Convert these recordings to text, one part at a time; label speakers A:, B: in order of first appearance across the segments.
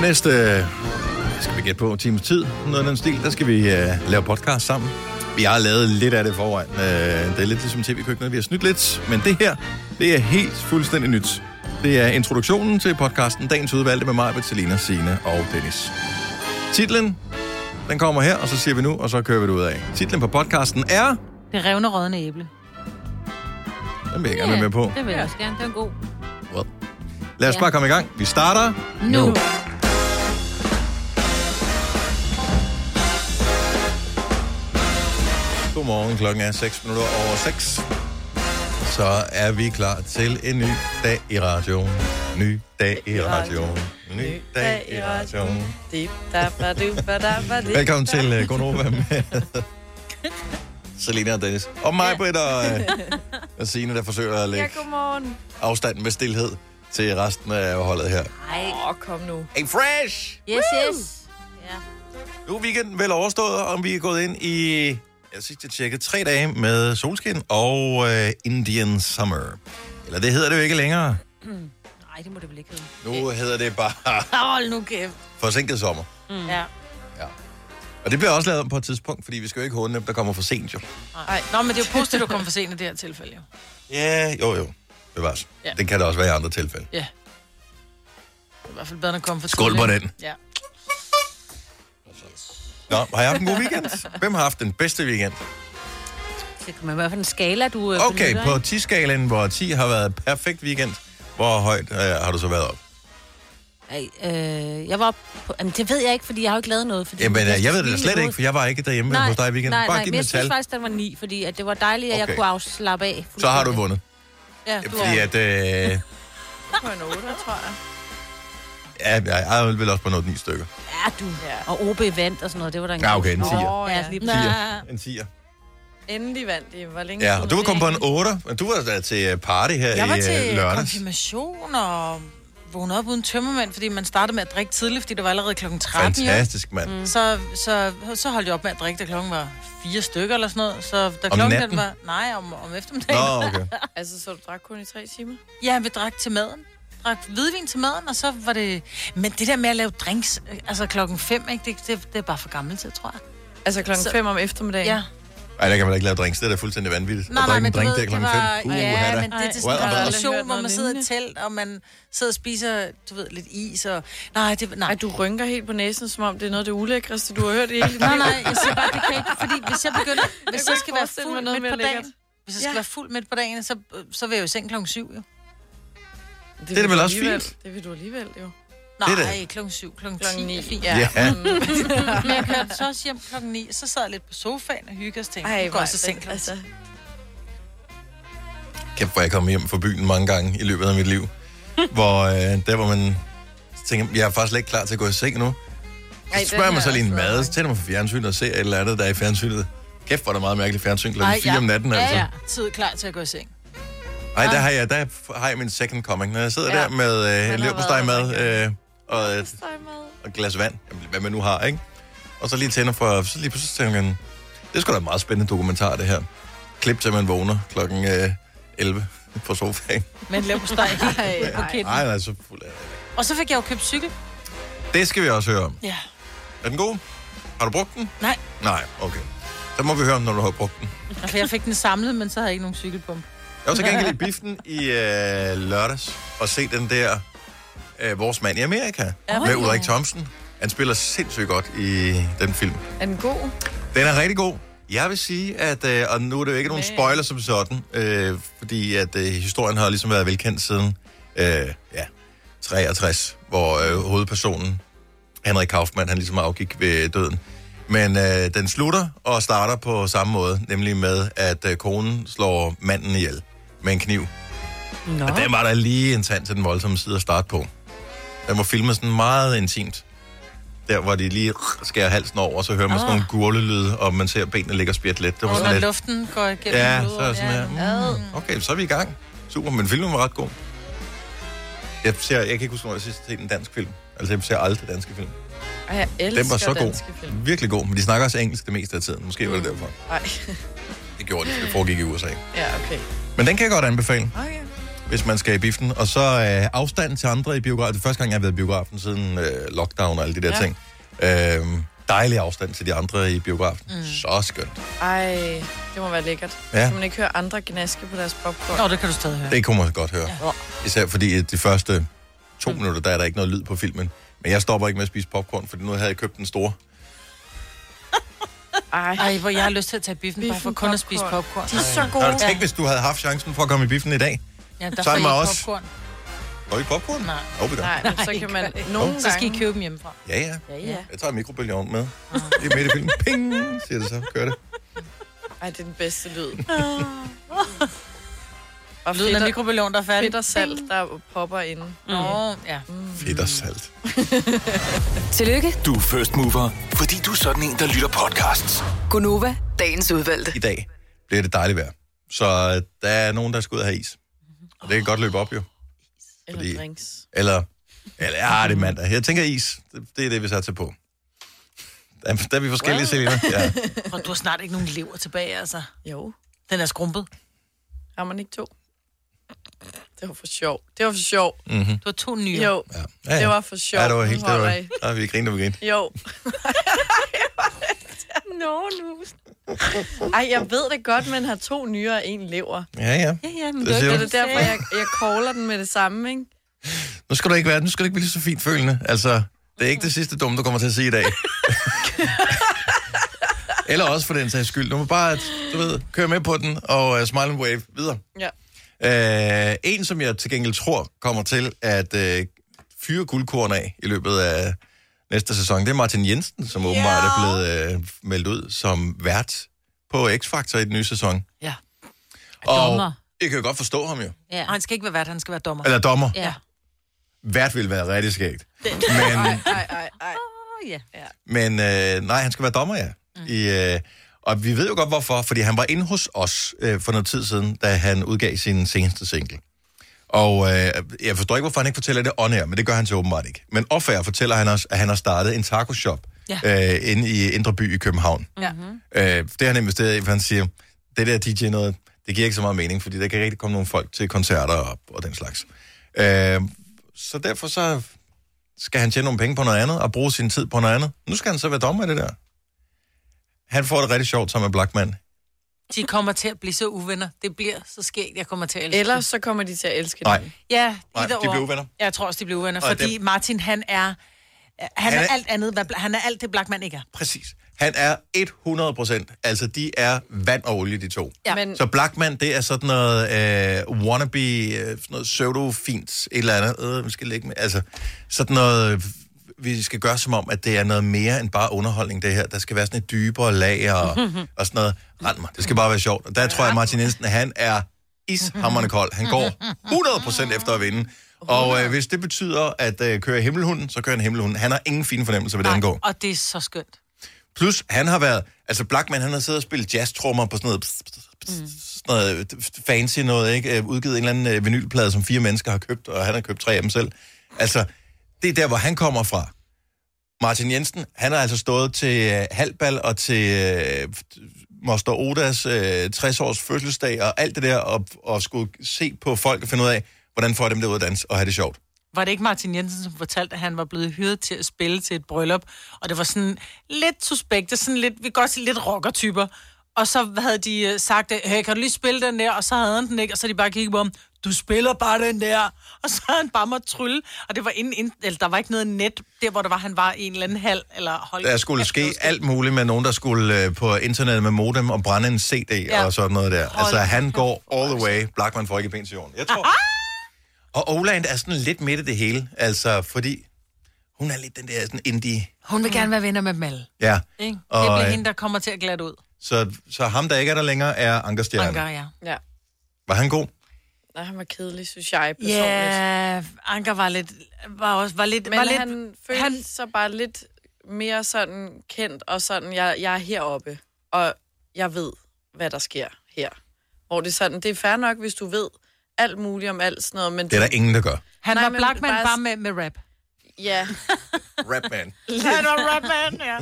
A: næste, øh, skal vi gætte på, en times tid, noget af den stil, der skal vi øh, lave podcast sammen. Vi har lavet lidt af det forvejen. Øh, det er lidt ligesom tv-køkkenet, vi har snydt lidt, men det her, det er helt fuldstændig nyt. Det er introduktionen til podcasten Dagens Udvalgte med mig, Bettelina, Sine og Dennis. Titlen, den kommer her, og så siger vi nu, og så kører vi det ud af. Titlen på podcasten er...
B: Det revner rådne æble.
A: Den vil jeg gerne være med på.
B: Det vil jeg også gerne. Den er god.
A: Well. Lad os bare komme i gang. Vi starter
B: Nu.
A: Godmorgen, klokken er 6 minutter over 6. Så er vi klar til en ny dag i radioen. Ny dag i radioen. Ny dag i radioen. Velkommen til uh, Gonova med Selina og Dennis. Og mig, Britt og, uh, og Signe, der forsøger at lægge
C: godmorgen.
A: afstanden med stillhed til resten af holdet her.
C: Åh, oh, kom nu.
A: Hey, fresh!
B: Yes, yes. Ja.
A: Nu er weekenden vel overstået, og vi er gået ind i, jeg sidst jeg tjekkede, tre dage med solskin og øh, Indian Summer. Eller det hedder det jo ikke længere.
B: Nej, det må det vel ikke hedde.
A: Nu hedder det bare
B: Hold nu kæft.
A: forsinket sommer.
B: Mm. Ja.
A: Og det bliver også lavet om på et tidspunkt, fordi vi skal jo ikke håne dem, der kommer for sent jo.
B: Nej. Nå, men det er jo positivt, at du kom for sent i det her tilfælde. Jo.
A: Ja, yeah, jo jo. Bevares.
B: Ja.
A: Ja. Det kan der også være i andre tilfælde.
B: Ja. Det er i hvert fald bedre, end at komme for
A: Skål på
B: tidligt.
A: den.
B: Ja.
A: Nå, har jeg haft en god weekend? Hvem har haft den bedste weekend?
D: Det kan man i hvert fald en skala, du øh,
A: Okay,
D: benytter,
A: på
D: ikke?
A: 10-skalaen, hvor 10 har været perfekt weekend, hvor højt øh, har du så været op?
D: Ej, øh, jeg var oppe på... Jamen, det ved jeg ikke, fordi jeg har jo ikke lavet noget. Fordi
A: Jamen, øh, jeg ved det da
D: spiste
A: slet
D: noget.
A: ikke, for jeg var ikke derhjemme
D: nej,
A: hos dig i weekenden.
D: Nej,
A: Bare
D: nej,
A: giv
D: men
A: mig
D: jeg
A: et
D: synes
A: tal.
D: faktisk, den var 9, fordi at det var dejligt, at okay.
A: Okay.
D: jeg kunne afslappe af.
A: Så har du
D: fuldstændig.
A: vundet.
B: Ja, du
A: Fordi
B: er-
A: at, øh,
C: På en 8, tror jeg.
A: ja, jeg er vel også på noget 9 stykker.
D: Ja, du.
C: Ja.
D: Og OB vandt og sådan noget, det var der en
A: Ja, okay, en
D: god-
A: 10'er.
C: Åh,
D: Ja,
C: ja.
D: lige
A: Tiger. En 10'er.
C: Endelig vandt det. Hvor længe
A: Ja,
C: siden
A: og du var
C: er
A: kommet på
C: det,
A: en 8, men du var da til party her
B: Jeg var
A: i
B: til
A: til lørdags.
B: konfirmation og vågnede op uden tømmermænd, fordi man startede med at drikke tidligt, fordi det var allerede klokken 13. jo.
A: Fantastisk, mand. Mm.
B: Så, så, så holdt jeg op med at drikke, da klokken var fire stykker eller sådan noget. Så da klokken
A: natten?
B: den var... Nej, om, om eftermiddagen. Nå.
A: Nå, okay.
C: ikke? Altså, så du drak kun i tre timer?
B: Ja, vi drak til maden. Drak hvidvin til maden, og så var det... Men det der med at lave drinks, øh, altså klokken fem, ikke? Det, det, det er bare for gammel tid, tror jeg.
C: Altså klokken
B: Så-
C: 5 om eftermiddagen?
B: Ja.
A: Ej, der kan man da ikke lave drinks. Det er da fuldstændig vanvittigt.
B: Nej,
A: at
B: nej,
A: drikke
B: men
A: en
B: du
A: drink
B: ved,
A: der
B: det
A: klokken
B: var...
A: 5. Uh,
B: ja,
A: ja,
B: men det er til
A: Well,
B: sådan en
A: well.
B: relation, hvor man sidder i
C: Noget
B: et telt, og man sidder og spiser, du ved, lidt is og... Nej, det...
C: Ej,
B: Nej,
C: du rynker helt på næsen, som om det er noget af det ulækreste, du har hørt i hele dit
B: Nej,
C: liv.
B: nej, jeg siger bare, det kan ikke, fordi hvis jeg begynder, hvis jeg,
C: kunne
B: skal
C: ikke
B: være
C: forestille mig
B: fuld
C: noget
B: midt på
C: mere lækkert.
B: dagen, hvis jeg skal
C: Ja.
B: være fuld midt på dagen, så, øh, så vil jeg jo i seng klokken syv, jo.
A: Det er
C: vil
A: vel
C: du
A: også
C: alligevel-
A: fint.
C: Det vil du alligevel, jo.
B: Nej,
A: Det er
B: det
A: det.
B: det. klokken syv, klokken,
C: Klokken
B: klokken 10
C: 9.
B: er fint.
C: Ja.
A: ja.
B: Men jeg kørte så også hjem klokken 9, så sad jeg lidt på sofaen og hyggede os tænkte,
C: Ej,
B: nu går jeg så seng klokken
C: altså.
A: Kæft, hvor jeg kom hjem fra byen mange gange i løbet af mit liv. hvor øh, der, hvor man tænker, jeg er faktisk slet ikke klar til at gå i seng nu.
C: Ej,
A: Så
C: den
A: spørger
C: har
A: man så
C: jeg
A: lige en
C: også været
A: mad, så
C: mange.
A: tænder man for fjernsynet og ser et eller andet, der er i fjernsynet. Kæft, hvor er der meget mærkeligt fjernsyn kl.
B: Ej,
A: 4 om natten, altså.
B: Ja, ja. Tid klar til at gå i seng.
A: Nej, der har jeg, der har jeg min second coming. Når jeg sidder ja.
C: Ja.
A: der med øh, en
C: har
A: leverpostej
C: været
A: mad øh, og et
C: Steg mad.
A: og et glas vand, Jamen, hvad man nu har, ikke? Og så lige tænder for, så lige pludselig tænker man, det er sgu da en meget spændende dokumentar, det her. Klip til, man vågner klokken øh, 11 på sofaen.
B: Men lav på steg helt på kæden.
A: Nej, nej, så fuld af det.
B: Og så fik jeg jo købt cykel.
A: Det skal vi også høre om.
B: Ja.
A: Er den god? Har du brugt den?
B: Nej,
A: Nej, okay. Så må vi høre om, når du har brugt den.
B: for altså, jeg fik den samlet, men så havde jeg ikke nogen cykelpumpe.
A: Jeg var til gengæld i biffen i øh, lørdags og se den der øh, Vores mand i Amerika
B: Ja,
A: med
B: hvor-
A: Ulrik Thomsen. Han spiller sindssygt godt i den film.
C: Er den god?
A: Den er rigtig god. Jeg vil sige, at, øh, og nu er det jo ikke nogen spoiler som sådan, øh, fordi at øh, historien har ligesom været velkendt siden øh, ja, 63, hvor øh, hovedpersonen, Henrik Kaufmann, han ligesom afgik ved døden. Men øh, den slutter og starter på samme måde, nemlig med, at øh, konen slår manden ihjel med en kniv. Nå. Og den var der lige en tand til den voldsomme side at starte på. Den var filmet sådan meget intimt. Der, hvor de lige skærer halsen over, og så hører man sådan nogle gurlelyde, og man ser benene ligge og spjætte lidt. Det var sådan
B: Når
A: lidt...
B: luften går igennem
A: Ja,
B: blodet.
A: så er sådan her. Mm, okay, så er vi i gang. Super, men filmen var ret god. Jeg, ser, jeg kan ikke huske, hvornår jeg sidst har set en dansk film. Altså, jeg ser aldrig danske film.
C: Ej, jeg elsker
A: Den var så
C: danske
A: god.
C: film. Mm.
A: Virkelig god, men de snakker også engelsk det meste af tiden. Måske var det derfor.
C: Ej,
A: Det gjorde de, for det foregik i USA.
C: ja, okay.
A: Men den kan jeg godt anbefale.
C: Okay.
A: hvis man skal i biffen. Og så øh, afstanden til andre i biografen. Det er første gang, jeg har været i biografen siden øh, lockdown og alle de der
C: Ja.
A: ja. ting. Øh, dejlig afstand til de andre i biografen. Mm. Så skønt.
C: Ej, det må være lækkert.
A: Ja.
C: Kan man ikke høre andre gnaske på deres popcorn?
B: Nå, det kan du stadig høre.
A: Det kunne man godt høre.
D: Ja.
A: Især fordi øh, de første to
C: Mm.
A: minutter, der er der ikke noget lyd på filmen. Men jeg stopper ikke med at spise popcorn, for nu havde jeg købt den store.
C: Ej,
B: Ej, hvor jeg har lyst til at tage biffen, biffen bare for
C: Biffen,
B: kun at spise
C: popcorn.
B: popcorn.
C: de er så gode.
A: Og tænk, hvis du havde haft chancen for at komme i biffen i dag.
B: Ja, der
A: Så er
B: får I
A: mig
B: ikke
A: også.
B: popcorn.
A: Går I popcorn?
B: Nej.
A: Jo, vi gør.
C: Nej, men så kan man nogle gange...
B: Så skal I købe dem hjemmefra.
A: Ja, ja.
D: Ja, ja.
A: Jeg tager mikrobølgeovnen med.
C: Ah.
A: I midt i filmen. Ping, siger det så. Kører det.
C: Ej, det er den bedste lyd. Og
B: Ah. Lyden af
C: fedt, og,
B: mikrobølgeovnen, der er færdig.
C: fedt og salt, der popper inde. Mm.
B: Nå, ja.
A: Fedt og salt.
E: Tillykke,
F: Du er first mover, fordi du er sådan en, der lytter podcasts.
E: Gunova, dagens udvalgte.
A: I dag bliver det dejligt vejr. Så øh, der er nogen, der skal ud og have is. Og det kan godt løbe op, jo.
C: Eller
A: Fordi-
C: drinks.
A: Eller, eller ja, det er mandag. Jeg tænker is. Det, det er det, vi satser på. Der, er- der er vi forskellige, Selina. Ja.
B: Og du har snart ikke nogen lever tilbage, altså.
C: Jo.
B: Den er skrumpet.
C: Har man ikke to? Det var for sjov. Det var for sjov.
B: Du har to nye.
C: Jo,
A: Mhm. Ja. Ja, ja.
C: det var for sjov.
A: Ja, det var helt...
C: Nu
A: Det
C: holder
A: var,
C: I.
A: ja, vi grinte, og vi grinte.
C: Jo.
D: Nå, nu.
C: Ej, jeg ved det godt, men har to nyere og en lever.
A: Ja, ja.
D: Ja, ja, men
A: Det
D: det,
A: siger
C: Det er
D: var ikke
A: du.
D: det,
C: det
D: du
C: derfor,
D: sagde.
C: jeg, jeg caller den med det samme, ikke?
A: Nu skal du ikke være, nu skal du ikke blive så fint følende. Altså, det er ikke det sidste dumme, du kommer til at sige i dag. Eller også for den sags skyld. Du må bare, du ved, køre med på den og uh, smile and wave videre.
C: Ja.
A: Uh, en, som jeg til gengæld tror kommer til at uh, fyre guldkorn af i løbet af næste sæson, det er Martin Jensen, som åbenbart er blevet uh, meldt ud som vært på X-Factor i den nye sæson.
B: Ja.
A: Og
D: Dommer.
A: jeg kan jo godt forstå ham jo.
D: Ja.
B: Og han skal ikke være vært, han skal være dommer.
A: Eller dommer.
D: Ja.
A: Vært ville være rigtig skægt.
C: Ej, ej, ej, ej.
D: Åh, ja.
A: Men øh, nej, han skal være dommer, ja. Mm. I, øh, og vi ved jo godt, hvorfor. Fordi han var inde hos os øh, for noget tid siden, da han udgav sin seneste single. Og øh, jeg forstår ikke, hvorfor han ikke fortæller det on air, men det gør han så åbenbart ikke. Men off air fortæller han os, at han har startet en taco-shop
B: Ja.
A: øh, inde i Indre By i København.
B: Ja.
A: Øh, det har han investeret i, for han siger, det der DJ noget, det giver ikke så meget mening, fordi der kan rigtig komme nogle folk til koncerter og, og den slags. Øh, så derfor så skal han tjene nogle penge på noget andet og bruge sin tid på noget andet. Nu skal han så være dommer i det der. Han får det rigtig sjovt som en Blackman.
B: De kommer til at blive så uvenner. Det bliver så skægt, jeg kommer til at elske
C: Ellers
B: det.
C: så kommer de til at elske
A: Nej,
C: den.
B: Ja,
A: Nej,
B: either
A: de bliver
B: or.
A: uvenner.
B: Jeg tror også, de bliver uvenner,
A: Og
B: fordi
A: dem-
B: Martin, han er... Han, er,
A: Han er-
B: alt andet, hvad, Bla- han er alt det Blackman ikke er.
A: præcis. Han er 100 procent. Altså, de er vand og olie, de to.
B: Ja.
C: Men,
A: Så Blackman, det er sådan noget øh, wannabe, øh, sådan noget pseudo-fint, et eller andet, øh, vi skal lægge med, altså sådan noget, øh, vi skal gøre som om, at det er noget mere end bare underholdning, det her. Der skal være sådan et dybere lag og, og sådan noget. Rand mig, det skal bare være sjovt. Og der tror jeg, Martin Jensen, han er ishammerende kold. Han går 100% efter at vinde. Og øh, hvis det betyder at øh, køre himmelhunden, så kører han himmelhunden. Han har ingen fine fornemmelser, hvad det angår.
B: Og det er så skønt.
A: Plus, han har været... Altså, Blackman, han har siddet og spillet jazztrummer på sådan noget... Pst, pst, pst, sådan noget fancy noget, ikke? Øh, Udgivet en eller anden øh, vinylplade, som fire mennesker har købt, og han har købt tre af dem selv. Altså, det er der, hvor han kommer fra. Martin Jensen, han har altså stået til øh, halvbal og til øh, Moster Odas øh, 60-års fødselsdag og alt det der, og, og skulle se på folk og finde ud af, hvordan får jeg dem der ud at danse og have det sjovt.
B: Var det ikke Martin Jensen, som fortalte, at han var blevet hyret til at spille til et bryllup? Og det var sådan lidt suspekt, det er sådan lidt, vi kan godt sige, lidt rockertyper. Og så havde de øh, sagt, øh, hey, kan du lige spille den der? Og så havde han den ikke, og så havde de bare kigget på ham, du spiller bare den der. Og så havde han bare måttet trylle, og det var inden, inden, eller der var ikke noget net, der hvor der var, han var i en eller anden hal, eller hold.
A: Der skulle ske alt muligt med nogen, der skulle øh, på internettet med modem og brænde en CD ja.
B: Ja.
A: og sådan noget der.
B: Hold
A: Altså, han går all the way. Blackman får ikke ben til jorden. Jeg tror. Og Oland er sådan lidt midt i det hele. Altså, fordi hun er lidt den der sådan indie...
B: Hun vil gerne være venner med dem alle.
A: Ja.
B: Ikke?
A: Og,
B: det
A: øh,
B: bliver hende, der kommer til at glatte ud.
A: Så, så ham, der ikke er der længere, er Ankerstjerne.
B: Anker,
A: Anker.
B: ja.
C: ja.
A: Var han god?
C: Nej, han var kedelig, synes jeg personligt.
B: Ja, Anker var lidt... Var også, var lidt,
C: Men
B: var
C: lidt,
B: lidt
C: han følte
B: han-
C: han... sig bare lidt mere sådan kendt, og sådan, jeg, jeg er heroppe, og jeg ved, hvad der sker her. Hvor det er sådan, det er fair nok, hvis du ved alt muligt om alt sådan noget, men...
A: Det er der ingen, der gør.
B: han
C: Nej,
B: var
C: men
B: Blackman bare,
C: bare-
B: bare med, med rap.
C: Ja,
A: Rapman.
B: Han var rapman, ja.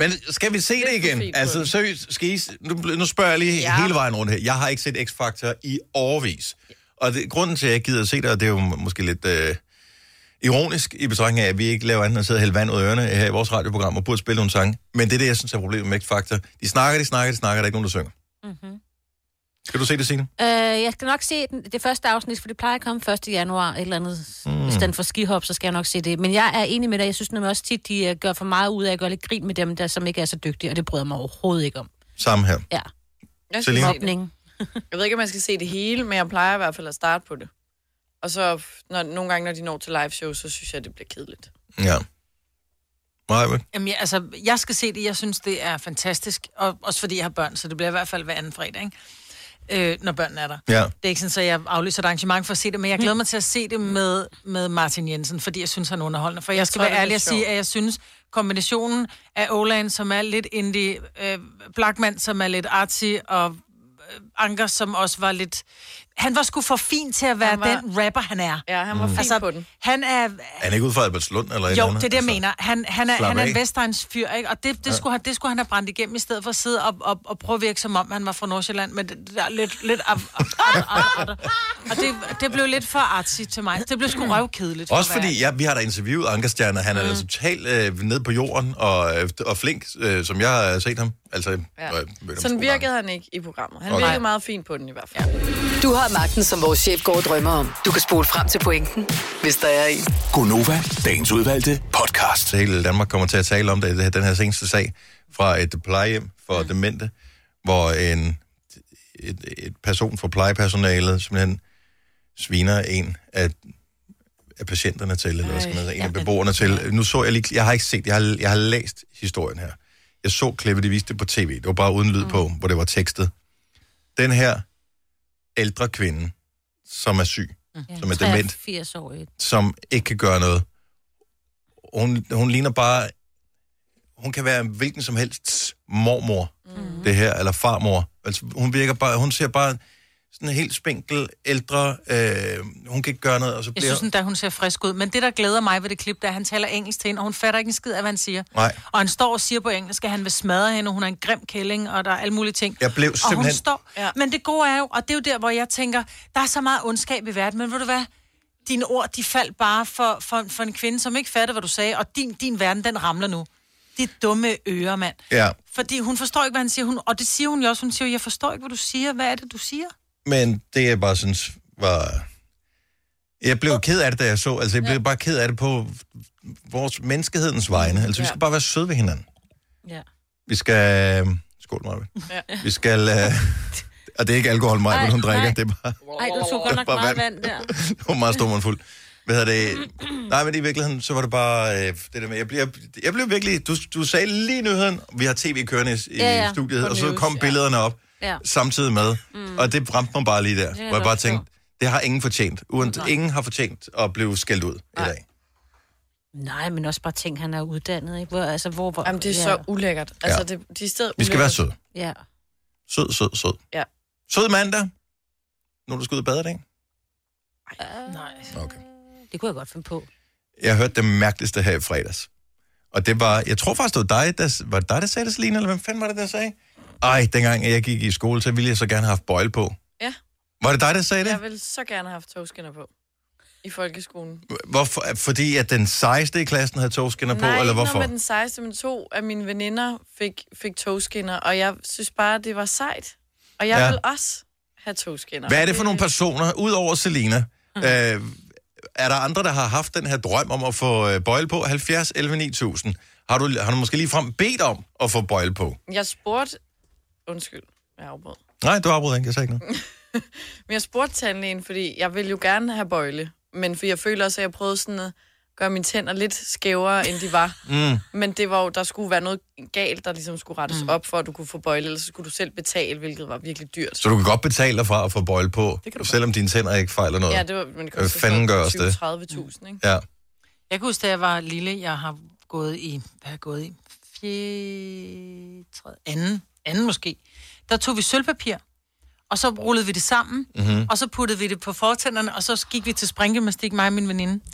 A: Men skal vi se det
C: Lidt for
A: igen?
C: sent på
A: Altså,
C: det.
A: seriøst, skal I, s- nu, bl- nu spørger jeg lige ja. hele vejen rundt her. Jeg har ikke set X-Factor i årvis. Og det, grunden til, at jeg ikke gider at se det, og det er jo måske lidt øh, ironisk i betragtning af, at vi ikke laver andet end at sidde og hælde vand ud af ørerne her i vores radioprogram og burde spille nogle sange. Men det er det, jeg synes er problemet med X-Factor. De snakker, de snakker, de snakker, der er ikke nogen, der synger.
D: Mm-hmm.
A: Skal du se det, Signe?
D: Øh, jeg skal nok se den, det første afsnit, for det plejer at komme 1. januar, et eller andet. Mm. I stedet for skihop, så skal jeg nok se det. Men jeg er enig med dig, jeg synes nemlig også tit, de øh, gør for meget ud af at gøre lidt grin med dem, der som ikke er så dygtige, og det bryder jeg mig overhovedet ikke om.
A: Samme her.
D: Ja,
C: Jeg, skal
A: Selina?
C: se det.
D: mobning.
C: jeg ved ikke, om man skal se det hele, men jeg plejer i hvert fald at starte på det. Og så når, nogle gange, når de når til live show, så synes jeg, det bliver kedeligt.
A: Ja. Maja, vel?
B: Jamen, jeg, altså, jeg skal se det. Jeg synes, det er fantastisk. Og, også fordi jeg har børn, så det bliver i hvert fald hver anden fredag, ikke? Øh, når børnene er der.
A: Ja.
B: Det er ikke sådan, at jeg aflyser et arrangement for at se det,
C: Mm.
B: men jeg glæder mig til at se det med, med Martin Jensen, fordi jeg synes, han er underholdende. For jeg, skal
C: tror,
B: være
C: det
B: ærlig
C: bliver
B: og sige,
C: sjovt.
B: at jeg synes, kombinationen af Olan, som er lidt indie, øh, Blackman, som er lidt artsy, og øh, Anker, som også var lidt... Han var sgu for fin til at være
C: Han var-
B: den rapper, han er.
C: Ja, han var mm. fin altså, på den.
B: han er,
A: Er han ikke ude fra Albertslund eller et eller
B: jo,
A: andet?
B: det er det, jeg
A: Altså,
B: mener. Han, han er,
A: slap
B: han er
A: af.
B: en Vestegns fyr, ikke? Og det, det, ja. skulle, han, det skulle han have brændt igennem, i stedet for at sidde og, og, og prøve at virke, som om han var fra Nordsjælland. Men det, det er lidt... lidt af, af, af, af, af, Og det, det blev lidt for artsy til mig. Det blev sgu røvkedeligt. for
A: Også
B: at være
A: fordi, ja, vi har da interviewet Ankerstjerner. Han er mm. totalt øh, ned på jorden og, øh, og flink, øh, som jeg har set ham. Altså, ja.
C: Ja. Sådan virkede han ikke i programmet. Han
A: Okay.
C: virkede meget fint på den i hvert fald.
E: Du har magten, som vores chef går og drømmer om. Du kan spole frem til pointen, hvis der er en.
F: Gonova, dagens udvalgte podcast.
A: Så hele Danmark kommer til at tale om det, det her- den her seneste sag fra et plejehjem for mm. demente, hvor en et, et person fra plejepersonalet simpelthen sviner en af, af patienterne til, eller hvad skal man sige, en af beboerne til. Nu så jeg lige, jeg har ikke set, jeg har, jeg har læst historien her. Jeg så klippet, de viste det på tv. Det var bare uden lyd på, hvor det var tekstet. Den her ældre kvinde, som er syg,
C: Mm.
A: som er dement,
D: 80 år. ikke?
A: som ikke kan gøre noget. Hun, hun ligner bare... Hun kan være hvilken som helst mormor, mm. det her, eller farmor. Altså, hun virker bare... Hun ser bare sådan en helt spinkel, ældre... Øh, hun kan ikke gøre noget, og så
B: Jeg
A: bliver...
B: synes endda, hun ser frisk ud. Men det, der glæder mig ved det klip, det er, at han taler engelsk til hende, og hun fatter ikke en skid af, hvad han siger.
A: Nej.
B: Og han står og siger på engelsk, at han vil smadre hende, og hun er en grim kælling, og der er alle mulige ting.
A: Jeg blev
B: Og hun
A: simpelthen-
B: står...
C: Ja.
B: Ja. Men det gode er jo, og det er jo der, hvor jeg tænker, der er så meget ondskab i verden, men ved du hvad? Dine ord, de faldt bare for, for, for en kvinde, som ikke fattede, hvad du sagde, og din, din verden, den ramler nu. De dumme ører, mand.
A: Ja,
B: Fordi hun forstår ikke, hvad han siger. Hun, og det siger hun jo også. Hun siger jo, jeg forstår ikke, hvad du siger. Hvad er det, du siger?
A: men det jeg bare synes var... Jeg blev ked af det, da jeg så. Altså, jeg blev bare ked af det på vores menneskehedens vegne. Altså, vi skal bare være søde ved hinanden.
D: Ja.
A: Vi skal... Skål, Maja.
C: Ja.
A: Vi skal... Øh, og det er ikke alkohol, Maja,
D: Nej,
A: hun drikker.
D: nej.
A: Det er bare...
D: Ej, du tog godt nok
A: Det var
D: meget
A: vand.
D: vand, der.
A: Det var meget stor mundfuld. Hvad hedder det? Nej, men i virkeligheden, så var det bare øh, det der med, jeg blev, jeg blev virkelig, du, du sagde lige nyheden, vi har tv kørende i, i
D: Ja,
A: ja, ja.
D: ja.
A: studiet,
C: På
A: og så
C: news,
A: kom
C: ja.
A: billederne op
D: Ja.
A: samtidig med, mm. og det ramte mig bare lige der, hvor jeg
D: godt
A: bare tænkte, det har ingen fortjent. Uden, ingen har fortjent at blive skældt ud i dag.
D: Nej, men også bare ting, han er uddannet, ikke? Hvor, altså, hvor, hvor,
C: Jamen, det er
D: ja.
C: så ulækkert. Altså, det, de er stadig
A: Vi skal være
C: ulækkert.
A: søde.
D: Ja.
A: Sød, sød, sød.
C: Ja.
A: Sød mandag. Nu er du skal ud og bade i dag.
B: Nej.
A: Okay.
D: Det kunne jeg godt finde på.
A: Jeg hørte det mærkeligste her i fredags. Og det var, jeg tror faktisk, det var dig, der, var det dig, der sagde det, Selina, eller hvem fanden var det, der sagde? Ej, dengang jeg gik i skole, så ville jeg så gerne have haft bøjle på.
C: Ja.
A: Var det dig, der sagde det?
C: Jeg ville så gerne have haft togskinner på i folkeskolen.
A: Hvorfor? Fordi at den sejeste i klassen havde togskinner på,
C: Nej,
A: eller
C: ikke noget
A: hvorfor?
C: med den sejeste, men to af mine veninder fik, fik togskinner, og jeg synes bare, det var sejt. Og jeg
A: Ja.
C: ja. vil også have togskinner.
A: Hvad er det for nogle personer, udover Selina?
C: Hm.
A: Øh, er der andre, der har haft den her drøm om at få øh, bøjle på? 70, 11, 9000. Har du, har du måske ligefrem bedt om at få bøjle på?
C: Jeg spurgte... Undskyld, jeg afbrød.
A: Nej, du afbryder ikke, jeg sagde ikke noget.
C: Men jeg spurgte tandlægen, fordi jeg ville jo gerne have bøjle, men for jeg føler også, at jeg prøvede sådan at gøre mine tænder lidt skævere, end de var. Mm. Men det var jo, der skulle være noget galt, der ligesom skulle rettes mm. op for, at du kunne få bøjle, ellers så skulle du selv betale, hvilket var virkelig dyrt.
A: Så du kan godt betale dig fra at få bøjle på, selvom dine tænder ikke fejler noget.
C: Ja, det var, men det
A: Øh, fanden gør os det?
C: 30.000, ikke?
A: Ja.
B: Jeg kan huske, da jeg var lille, jeg har gået i, hvad har jeg gået i? Fjerde, tredje, anden, anden måske. Der tog vi sølvpapir, og så rullede
A: Mhm.
B: vi det sammen, mm-hmm. og så puttede vi det på fortænderne, og så gik vi til springgymnastik, mig og min veninde.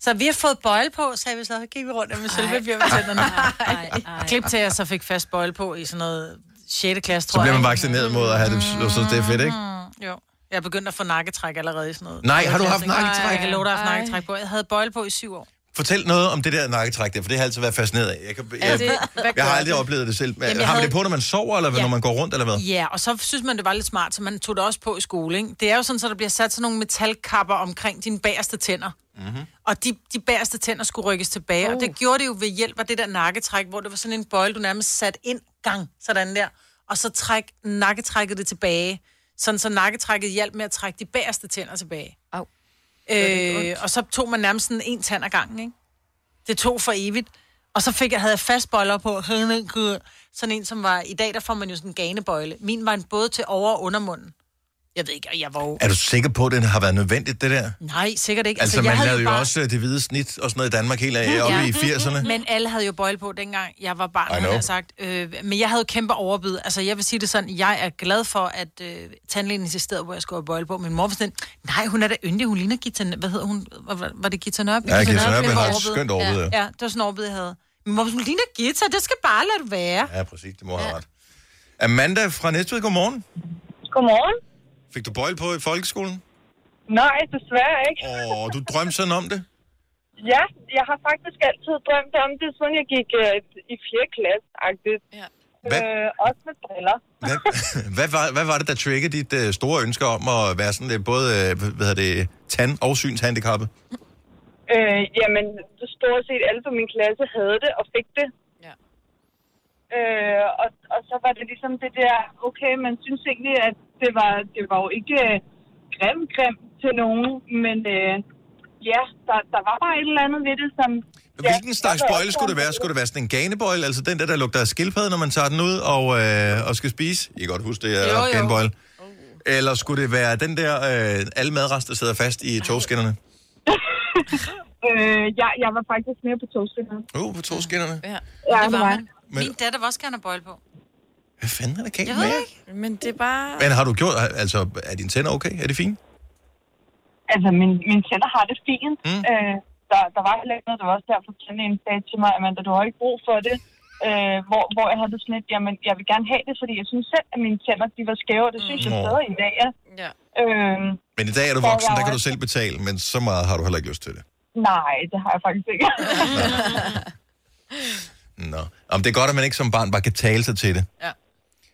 B: Så vi har fået bøjle på, sagde vi så, så gik vi rundt med sølvpapir ved tænderne.
D: Ej, ej.
B: Klip til, at jeg så fik fast bøjle på i sådan noget 6. klasse, tror
A: Så bliver man
B: jeg.
A: vaccineret mod at have det, og så det er fedt, ikke?
B: Jo. Jeg er begyndt at få nakketræk allerede i sådan noget.
A: Nej, har du haft
B: Jeg tænker,
A: nakketræk?
B: Jeg kan love dig, at jeg har haft
C: Ej.
B: nakketræk på. Jeg havde bøjle på i syv år.
A: Fortæl noget om det der nakketræk der, for det har jeg altid været fascineret af. Jeg, kan,
C: det-
A: jeg,
C: hvad
A: jeg har
C: gør
A: aldrig
C: det?
A: oplevet det selv. Men
B: Jamen,
A: Jamen,
B: jeg
A: har man
B: havde-
A: det på, når man sover, eller ja. når man går rundt, eller hvad?
B: Ja, og så synes man, det var lidt smart, så man tog det også på i skole. Ikke? Det er jo sådan, så der bliver sat sådan nogle metalkapper omkring dine bagerste tænder. Mm-hmm. Og de, de bagerste tænder skulle rykkes tilbage. Uh. Og det gjorde det jo ved hjælp af det der nakketræk, hvor det var sådan en bøjle, du nærmest sat ind gang, sådan der. Og så træk nakketrækket det tilbage. Sådan så nakketrækket hjalp med at trække de bagerste tænder tilbage.
D: Au.
B: Øh, og så tog man nærmest sådan en tand ad gangen, ikke? Det tog for evigt. Og så fik jeg, havde jeg fastbøjler på. Sådan en, som var... I dag, der får man jo sådan en ganebøjle. Min var en både til over- og undermunden. Jeg ved ikke, og jeg var jo...
A: Er du sikker på, at det har været nødvendigt, det der?
B: Nej, sikkert ikke.
A: Altså, altså man
B: jeg
A: lavede jo bare... også øh, det hvide snit og sådan noget i Danmark helt af, oppe i 80'erne.
B: Men alle havde jo bøjle på dengang. Jeg var
A: I
B: barn, havde
A: know.
B: jeg sagt. Øh, men jeg havde jo kæmpe overbid. Altså, jeg vil sige det sådan, jeg er glad for, at øh, tandlægen insisterede, hvor jeg skulle have bøjle på. Min mor var sådan, nej, hun er da yndig. Hun ligner Gita... Hvad hedder hun? Var, var- var det Gita Nørby?
A: Ja, Kirsten
B: Nørby
A: Nørby
B: var
A: har et
B: overbid.
A: skønt overbid. Ja.
B: Ja, det var sådan en overbid, jeg havde. Min mor var sådan, ligner Gita, det skal bare lade det være.
A: ja, præcis. Det må have ret. Amanda fra Næstved, godmorgen.
G: Godmorgen.
A: Fik du bøjle på i folkeskolen?
G: Nej, desværre ikke.
A: Åh, du drømte sådan om det?
G: Ja, jeg har faktisk altid drømt om det, siden jeg gik øh, i 4. klasse-agtigt.
C: Ja.
A: Hvad,
G: Øh, også med briller.
A: hvad, hvad, var, hvad var det, der triggede dit øh, store ønske om at være sådan lidt både øh, hvad hedder det, tand- og synshandicappet?
G: Øh, jamen, stort set alle på min klasse havde det og fik det.
C: Ja.
G: Øh, og, og så var det ligesom det der, okay, man synes egentlig, at det var, det var jo ikke øh, grim, grim til nogen, men øh, ja, der, der var bare et eller andet ved det, som...
A: Hvilken
G: ja,
A: slags
G: jeg var
A: bøjle skulle det være? Skulle det være sådan en ganebøjle, altså den der, der lugter af skildpadde, når man tager den ud og, øh, og skal spise? I kan godt huske, det
B: Jo,
A: er
B: jo.
A: ganebøjle. Eller skulle det være den der, øh, alle madrester sidder fast i togskinnerne?
G: Øh, jeg, jeg var faktisk mere på togskinnerne.
A: Uh, på togskinnerne.
C: ja.
G: Ja,
B: Det var man.
A: Men-
B: Min datter var også gerne have bøjle på.
A: Hvad fanden er der galt
B: Jeg
A: med
B: ved
A: jer?
B: ikke.
C: Men det er bare...
A: Men har du gjort, altså er dine tænder okay? Er det fint?
G: Altså, min, min tænder har det fint. Mm. Øh, der, der var heller ikke noget, der var også derfor, tandlægen sagde til mig, Amanda, du har ikke brug for det. Øh, hvor, hvor jeg havde det sådan lidt, jamen, jeg vil gerne have det, fordi jeg synes selv, at mine tænder, de var skæve, og det synes jeg
A: Mm. Nå.
G: stadig i dag. Ja.
C: Ja.
G: Øh,
A: Men i dag er du
G: Ja,
A: voksen,
G: jeg
A: der
G: er
A: kan du
G: også-
A: selv betale, men så meget har du heller ikke lyst til det.
G: nej, det har jeg faktisk ikke.
A: Nå. Om det er godt, at man ikke som barn bare kan tale sig til det.
C: Ja.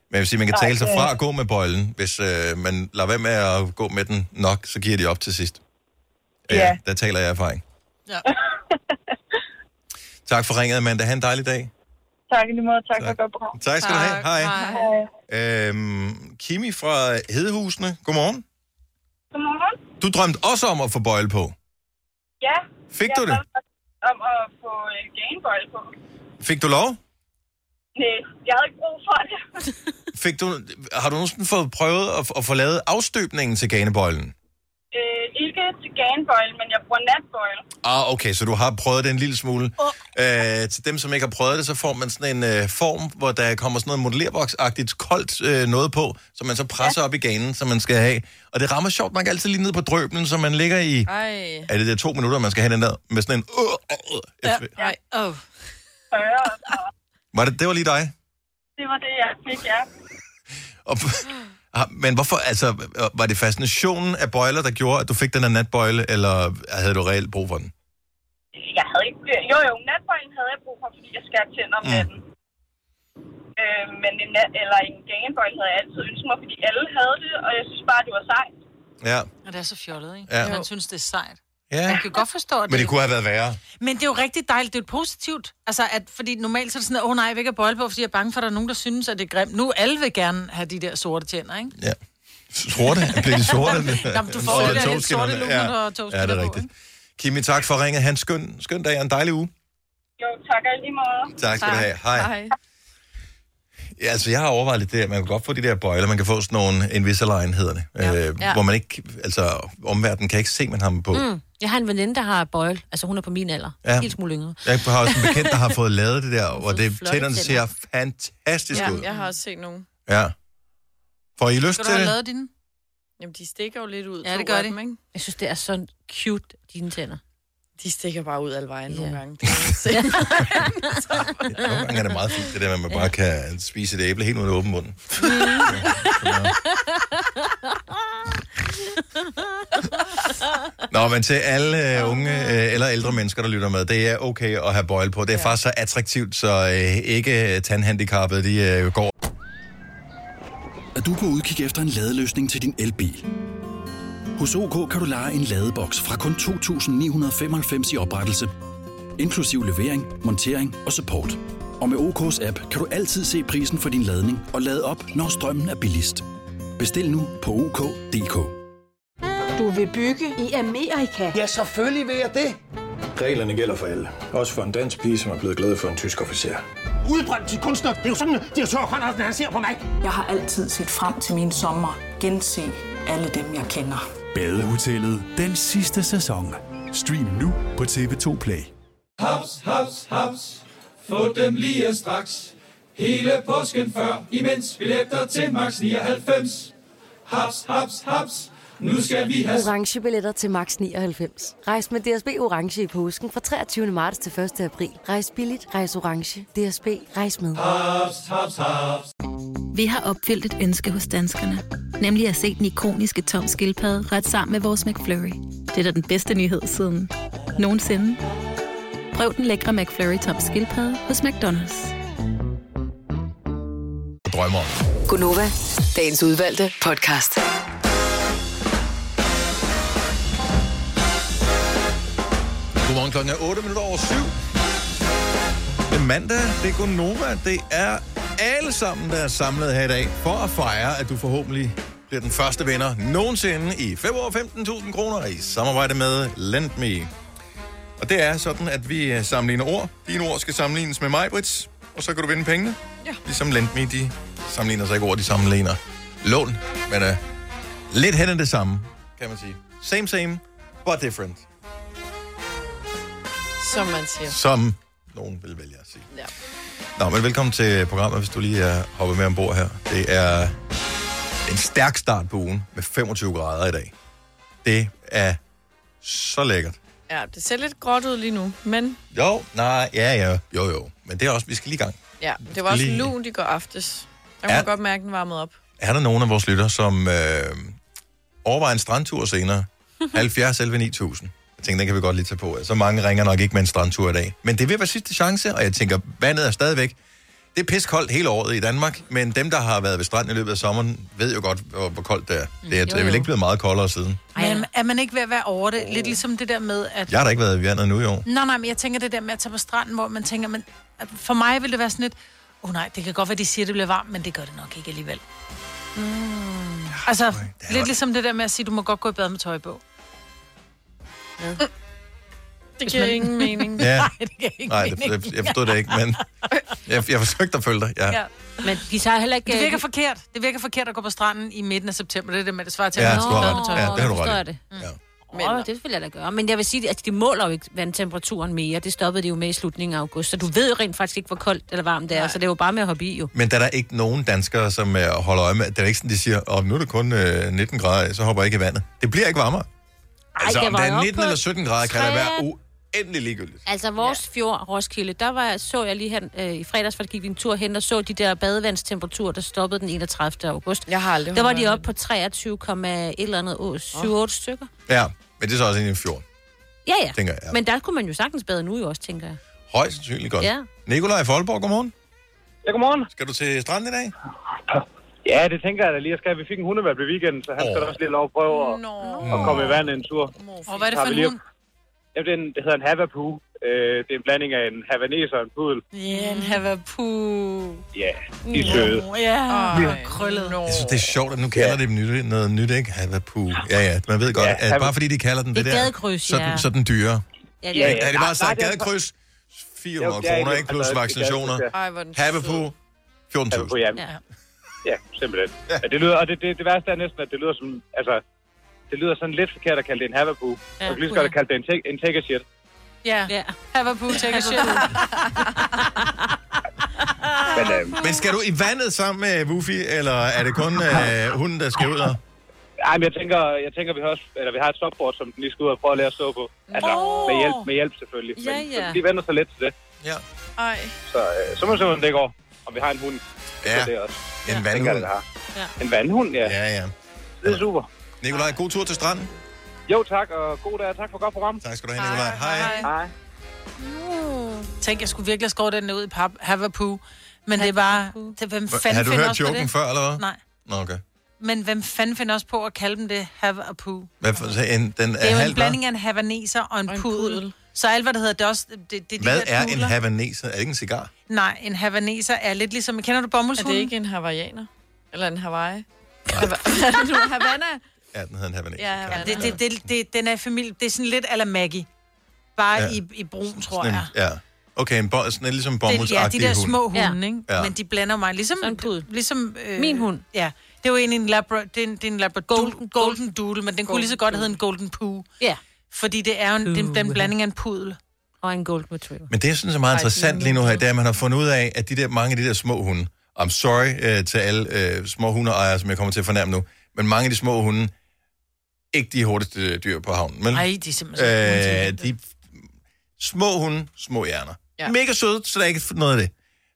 A: Men jeg vil sige, man kan tale sig
G: det-
A: fra at gå med bøjlen. Hvis øh, man lader være med at gå med den nok, så giver de op til sidst.
G: Ja.
A: Der taler jeg af erfaring.
B: Ja.
A: tak for ringet, Amanda. Ha' en dejlig dag.
G: tak i lige måde, tak, tak. for
A: Tak.
G: at gøre program.
A: Tak skal du have. Hej.
B: Hej.
G: Øh,
A: Øhm, Kimi fra Hedehusene. Godmorgen.
G: Godmorgen.
A: Du drømte også om at få bøjle på.
G: Ja.
A: Fik
G: jeg
A: du det?
G: drømte Om at få øh, Gameboy på.
A: Fik du lov?
G: Nej, jeg havde ikke brug for det.
A: Fik du, har du nogensinde fået prøvet at, at få lavet afstøbningen til ganebøjlen?
G: Øh, ikke til Gameboy, men jeg bruger Natboy.
A: Ah, okay, så du har prøvet det en lille smule. Oh. Øh, til dem, som ikke har prøvet det, så får man sådan en øh, form, hvor der kommer sådan noget modellerboksagtigt koldt øh, noget på, som man så presser ja. op i ganen, som man skal have. Og det rammer sjovt, man kan altid lige ned på drøbelen, så man ligger i...
C: Ej.
A: Er det der to minutter, man skal have den der med sådan en... Øh, øh, øh, effekt?
C: Ej.
B: Oh.
A: Var det, det var lige dig?
G: Det var det, jeg fik, ja.
A: Og, Ah, men hvorfor, altså, var det fascinationen af bøjler, der gjorde, at du fik den her natbøjle, eller havde du reelt brug for den?
G: jeg havde ikke... Jo, jo, natbøjlen havde jeg brug for, fordi jeg skar tænder om
A: Mm.
G: natten. Øh, men en nat, eller en ganebøjl havde jeg altid ønsket mig, fordi alle havde det, og jeg synes bare, det var sejt.
A: Ja,
B: Og det er så fjollet, ikke?
A: Ja.
B: Ja. Man synes, det er sejt.
A: ja.
B: Man kan godt forstå, at
A: men det kunne have været værre.
B: Men det er jo rigtig dejligt, det er jo positivt. Altså, at, fordi normalt så er det sådan, at, åh oh, nej, jeg vil ikke have bolle på, fordi jeg er bange for, at der er nogen, der synes, at det er grimt. Nu alle vil gerne have de der sorte tænder, ikke?
A: Ja. Sorte? Bliver de sorte?
B: Nå, men du får
A: Og
B: det der helt
A: togskinnerne.
B: sorte lun og
A: Ja,
B: togskinnerne
A: det
B: på,
A: er rigtigt.
B: ikke?
A: Kimi, tak for ringet. Han skøn, skøn dag og en dejlig uge.
G: Jo, tak og i lige måde.
A: Tak skal du have. Hej.
C: Hej.
A: Ja, altså, jeg har overvejet lidt det, at man kan godt få de der bøjler. Man kan få sådan nogle Invisalign, hedder det. Ja. Øh,
C: Ja.
A: Hvor man ikke, altså, omverdenen kan ikke se, man har dem på. Mm.
D: Jeg har en veninde, der har bøjle. Altså, hun er på min alder.
A: Ja.
D: Ja. Helt smule yngre.
A: Jeg har også en bekendt, der har fået lavet det der, og det,
D: flotte
A: tænderne ser
D: tænder.
A: fantastisk
C: Ja,
A: ud.
C: jeg har også set nogen.
A: Ja. Får I lyst
B: Skal du
A: til
B: have
A: det?
B: lavet dine?
C: Jamen, de stikker jo lidt ud.
B: Ja,
C: to
B: det gør
C: af
B: de.
C: Dem, ikke?
D: Jeg synes, det er så cute, dine tænder.
C: De stikker bare ud alle vejen yeah.
D: Ja.
C: nogle gange. Det er sindssygt.
A: Nogle gange er det meget fint, det der med, at man bare kan spise et æble helt uden at åbne munden. Nå, men til alle øh, unge øh, eller ældre mennesker, der lytter med, det er okay at have bøjle på. Det er faktisk så attraktivt, så øh, ikke øh, tandhandicappede, de øh, går
F: Er du på udkig efter en ladeløsning til din elbil? Hos OK kan du lege en ladeboks fra kun 2.995 i oprettelse, inklusiv levering, montering og support. Og med OK's app kan du altid se prisen for din ladning og lade op, når strømmen er billigst. Bestil nu på OK.dk.
H: Du vil bygge i Amerika?
I: Ja, selvfølgelig vil jeg det.
J: Reglerne gælder for alle. Også for en dansk pige, som er blevet glad for en tysk officer.
I: Udbrøndt til kunstner. Det er jo sådan, at de har tørt, han ser på mig.
H: Jeg har altid set frem til min sommer. Gense alle dem, jeg kender.
K: Badehotellet den sidste sæson. Stream nu på TV2 Play.
L: Haps, haps, haps. Få dem lige straks. Hele påsken før, imens billetter til max 99. Haps, haps, haps. Nu skal vi have...
M: orange billetter til max 99. Rejs med DSB orange i påsken fra 23. marts til 1. april. Rejs billigt, rejs orange. DSB rejs med.
L: Haps, haps, haps.
N: Vi har opfyldt et ønske hos danskerne. Nemlig at se den ikoniske tom skildpadde ret sammen med vores McFlurry. Det er da den bedste nyhed siden nogensinde. Prøv den lækre McFlurry tom skildpadde hos McDonald's.
A: og drømmer om.
E: Gunova, dagens udvalgte podcast.
A: Godmorgen klokken er 8 minutter over 7. Det er mandag, det er Gunova, det er alle sammen, der er samlet her i dag, for at fejre, at du forhåbentlig bliver den første vinder nogensinde i februar 15.000 kroner i samarbejde med LendMe. Og det er sådan, at vi øh, sammenligner ord. Dine ord skal sammenlignes med mig, Brits, og så kan du vinde pengene. Ja. Ligesom LendMe, de sammenligner sig ikke ord, de sammenligner lån. Men øh, lidt hen ad det samme, kan man sige. Same, same, but different.
C: Som man siger.
A: Som nogen vil vælge at sige.
C: Ja.
A: Nå, men velkommen til programmet, hvis du lige er hoppet med ombord her. Det er en stærk start på ugen med 25 grader i dag. Det er så lækkert.
C: ja, det ser lidt gråt ud lige nu, men
A: Jo, nej, ja, ja, jo, jo. Men det er også, vi skal lige i gang.
C: ja, det var også
A: Lige-
C: lunt i går aftes. Der kunne
A: Ja.
C: man godt mærke, den varmede op.
A: Er der nogen af vores lytter, som øh, overvejer en strandtur senere? 70 11 9000. Jeg tænker, den kan vi godt lige tage på. Så mange ringer nok ikke med en strandtur i dag. Men det vil være sidste chance, og jeg tænker, vandet er stadigvæk... Det er piskoldt hele året i Danmark, men dem, der har været ved stranden i løbet af sommeren, ved jo godt, hvor, hvor koldt det er. Det er,
B: Mm. jo,
A: det er vel
B: jo.
A: ikke blevet meget koldere siden.
B: Men er man ikke ved at være over det? Lidt ligesom det der med, at...
A: Jeg har da ikke været i vandet nu i år.
B: Nej, nej, men jeg tænker det der med at tage på stranden, hvor man tænker, men at for mig vil det være sådan lidt, åh oh, nej, det kan godt være, de siger, det bliver varmt, men det gør det nok ikke alligevel. Mm. Altså, lidt ligesom det der med at sige, du må godt gå i bad med tøj på. Ja.
C: Det giver ingen mening.
A: Ja.
B: Nej, det giver ingen
A: Nej, det,
B: mening.
A: jeg, jeg forstod det ikke, men jeg, jeg forsøgte at følge dig. Ja.
B: Ja.
D: Men de tager heller ikke...
B: Det virker forkert. Det virker forkert at gå på stranden i midten af september. Det er det, med det svarer til.
A: Ja,
B: at
A: du
B: man
A: har
B: skal bade med tøj.
A: ret. Ja, det har du ret i.
D: Forstår jeg det?
A: Ja.
D: Åh, oh, det vil jeg da gøre. Men jeg vil sige, at de måler jo ikke vandtemperaturen mere. Det stoppede de jo med i slutningen af august. Så du ved jo rent faktisk ikke, hvor koldt eller varmt det er. Så det er jo bare med at hoppe i, jo.
A: Men der er der ikke nogen danskere, som øh, holder øje med... Det er ikke sådan, de siger, at nu er det kun øh, 19 grader, så hopper jeg ikke i vandet. Det bliver ikke varmere. Ej, altså,
D: det
A: om
D: var
A: der
D: jo
A: er
D: op
A: 19
D: på
A: eller 17 grader, kan det
D: tre-
A: være uendelig ligegyldigt.
D: Altså vores ja. fjord, Roskilde, der var, så jeg lige her øh, i fredags, for der gik vi en tur hen, og så de der badevandstemperaturer, der stoppede den 31. august.
C: Jeg har aldrig
D: Der var
C: holdt
D: de
C: øje
D: oppe på 23, et eller andet år, 7 8 stykker.
A: Ja, men det er så også egentlig en fjord.
D: Ja, ja.
A: Tænker jeg, ja.
D: Men der kunne man jo sagtens bade nu jo også, tænker jeg.
A: Højst sandsynligt godt.
D: Ja.
A: Nikolaj Folborg, godmorgen.
O: Ja, godmorgen.
A: Skal du til stranden i dag?
O: Ja, det tænker jeg da lige. Jeg skal. Vi fik en hundevalg i weekenden, så han skal da også lige have lov at prøve at, at komme i vandet en tur.
B: Og hvad er det for
O: Tager vi
B: en
O: lige
B: hund?
O: op- Jamen, det, er en, det hedder en Havapoo. Øh, det er en blanding af en havanes og en pudel.
B: Ja, en havapu.
O: Ja, de er søde.
B: Ja,
O: Ej,
B: og krøllet.
A: Jeg synes, det er sjovt, at nu kalder ja. det nyt, noget nyt, ikke? Havapu. Ja, ja, man ved godt.
O: Ja,
A: Ja,
O: Hava-
A: bare fordi de kalder den
O: Det
A: det,
O: er
A: der,
O: gadekryds,
A: så, er den-
O: ja.
A: så er den dyre.
D: Ja,
O: det er-
A: Er det
O: Nej,
A: bare så
O: nej, det er-
A: altså gadekryds? 400
O: Jo, det er
A: kroner,
O: det.
A: ikke? Plus
O: Altså,
A: vaccinationer.
O: det er- Ej, hvor er den
A: Havapu, 14.000.
O: Ja. ja, simpelthen. Ja, det lyder, og det, det, det værste er næsten, at det lyder som... Altså, det lyder sådan lidt forkert at kalde det en Havapoo. Ja, og lige så godt at kalde det en, take, en take a shit.
B: Ja, ja. havapu, take a shit.
O: Men, øh,
A: Men skal du i vandet sammen med Wuffy, eller er det kun øh, hunden, der skal ud og...
O: Ej, men jeg tænker, jeg tænker vi, har også, eller vi har et stopboard, som den lige skal ud og prøve at lære at stå på. Altså,
C: Nå.
O: med, hjælp, med hjælp selvfølgelig.
C: Ja,
O: Men
C: ja.
O: så de vender sig lidt til det.
C: Ej.
O: Så, øh, så må vi se, hvordan det går. Om vi har en hund. Ja, det også.
A: En vandhund.
O: Det har.
B: Ja.
O: En vandhund, ja.
A: Ja, ja.
O: Det er super.
A: Nikolaj, god tur til stranden.
O: Jo, tak, og god dag. Tak for godt program.
A: Tak skal du have, Nikolaj. Hej.
O: Hej.
B: Mm. Tænk, jeg skulle virkelig have skåret den ned ud i pap. Havapoo. Men det er bare... Det, hvem
A: Hva-
B: fanden
A: har du
B: finder
A: hørt
B: også på
A: joken
B: det?
A: før, eller hvad?
B: Nej.
A: Nå, okay.
B: Men hvem fanden finder også på at kalde dem det Havapoo?
A: Hvad for, så en, den
B: Det
A: er,
B: er jo en
A: halvt, hvad?
B: blanding af en havaneser og en, og en pudel. Så alt, hvad det hedder, det er også... Det, det, det
A: Hvad
B: de der
A: er en
B: pudler.
A: havaneser? Er det ikke en cigar?
B: Nej, en havaneser er lidt ligesom... Kender du bomuldshunden?
C: Er det ikke en hawaiianer? Eller en Hawaii? Hvad er det nu? Havana?
A: Ja, den hedder en havaneser.
C: Ja, Havana.
B: Det, det, det, det, den er i familie... Det er sådan lidt ala Maggie. Bare
A: Ja.
B: ja. i, i brun, tror
A: Sådan
B: jeg.
A: en, ja. Okay, en bo, sådan en ligesom
B: Det, ja, de
A: bomuldsagtig
B: der
A: hund.
B: små hunde, ja. ikke?
A: Ja.
B: Ja. Men de blander mig. Ligesom, ligesom øh,
D: Min hund.
B: Ja, det er jo egentlig en, labra, det er en, det er en labra, golden, golden doodle, men den kunne lige så godt hedde en golden poo.
D: Ja.
B: Fordi det er jo en, det er en- det er en
D: Puha.
B: blanding af en pudel.
D: Og en golden retriever.
A: Men det, jeg synes er meget interessant lige nu her, det er, at man har fundet ud af, at de der, mange af de der små hunde, I'm sorry øh, til alle øh, små hundeejere, som jeg kommer til at fornærme nu, men mange af de små hunde, ikke de hurtigste øh, dyr på havnen. Men,
B: Nej, de er simpelthen så intelligente.
A: de små hunde, små hjerner. Ja. Mega søde, så der er ikke noget af det.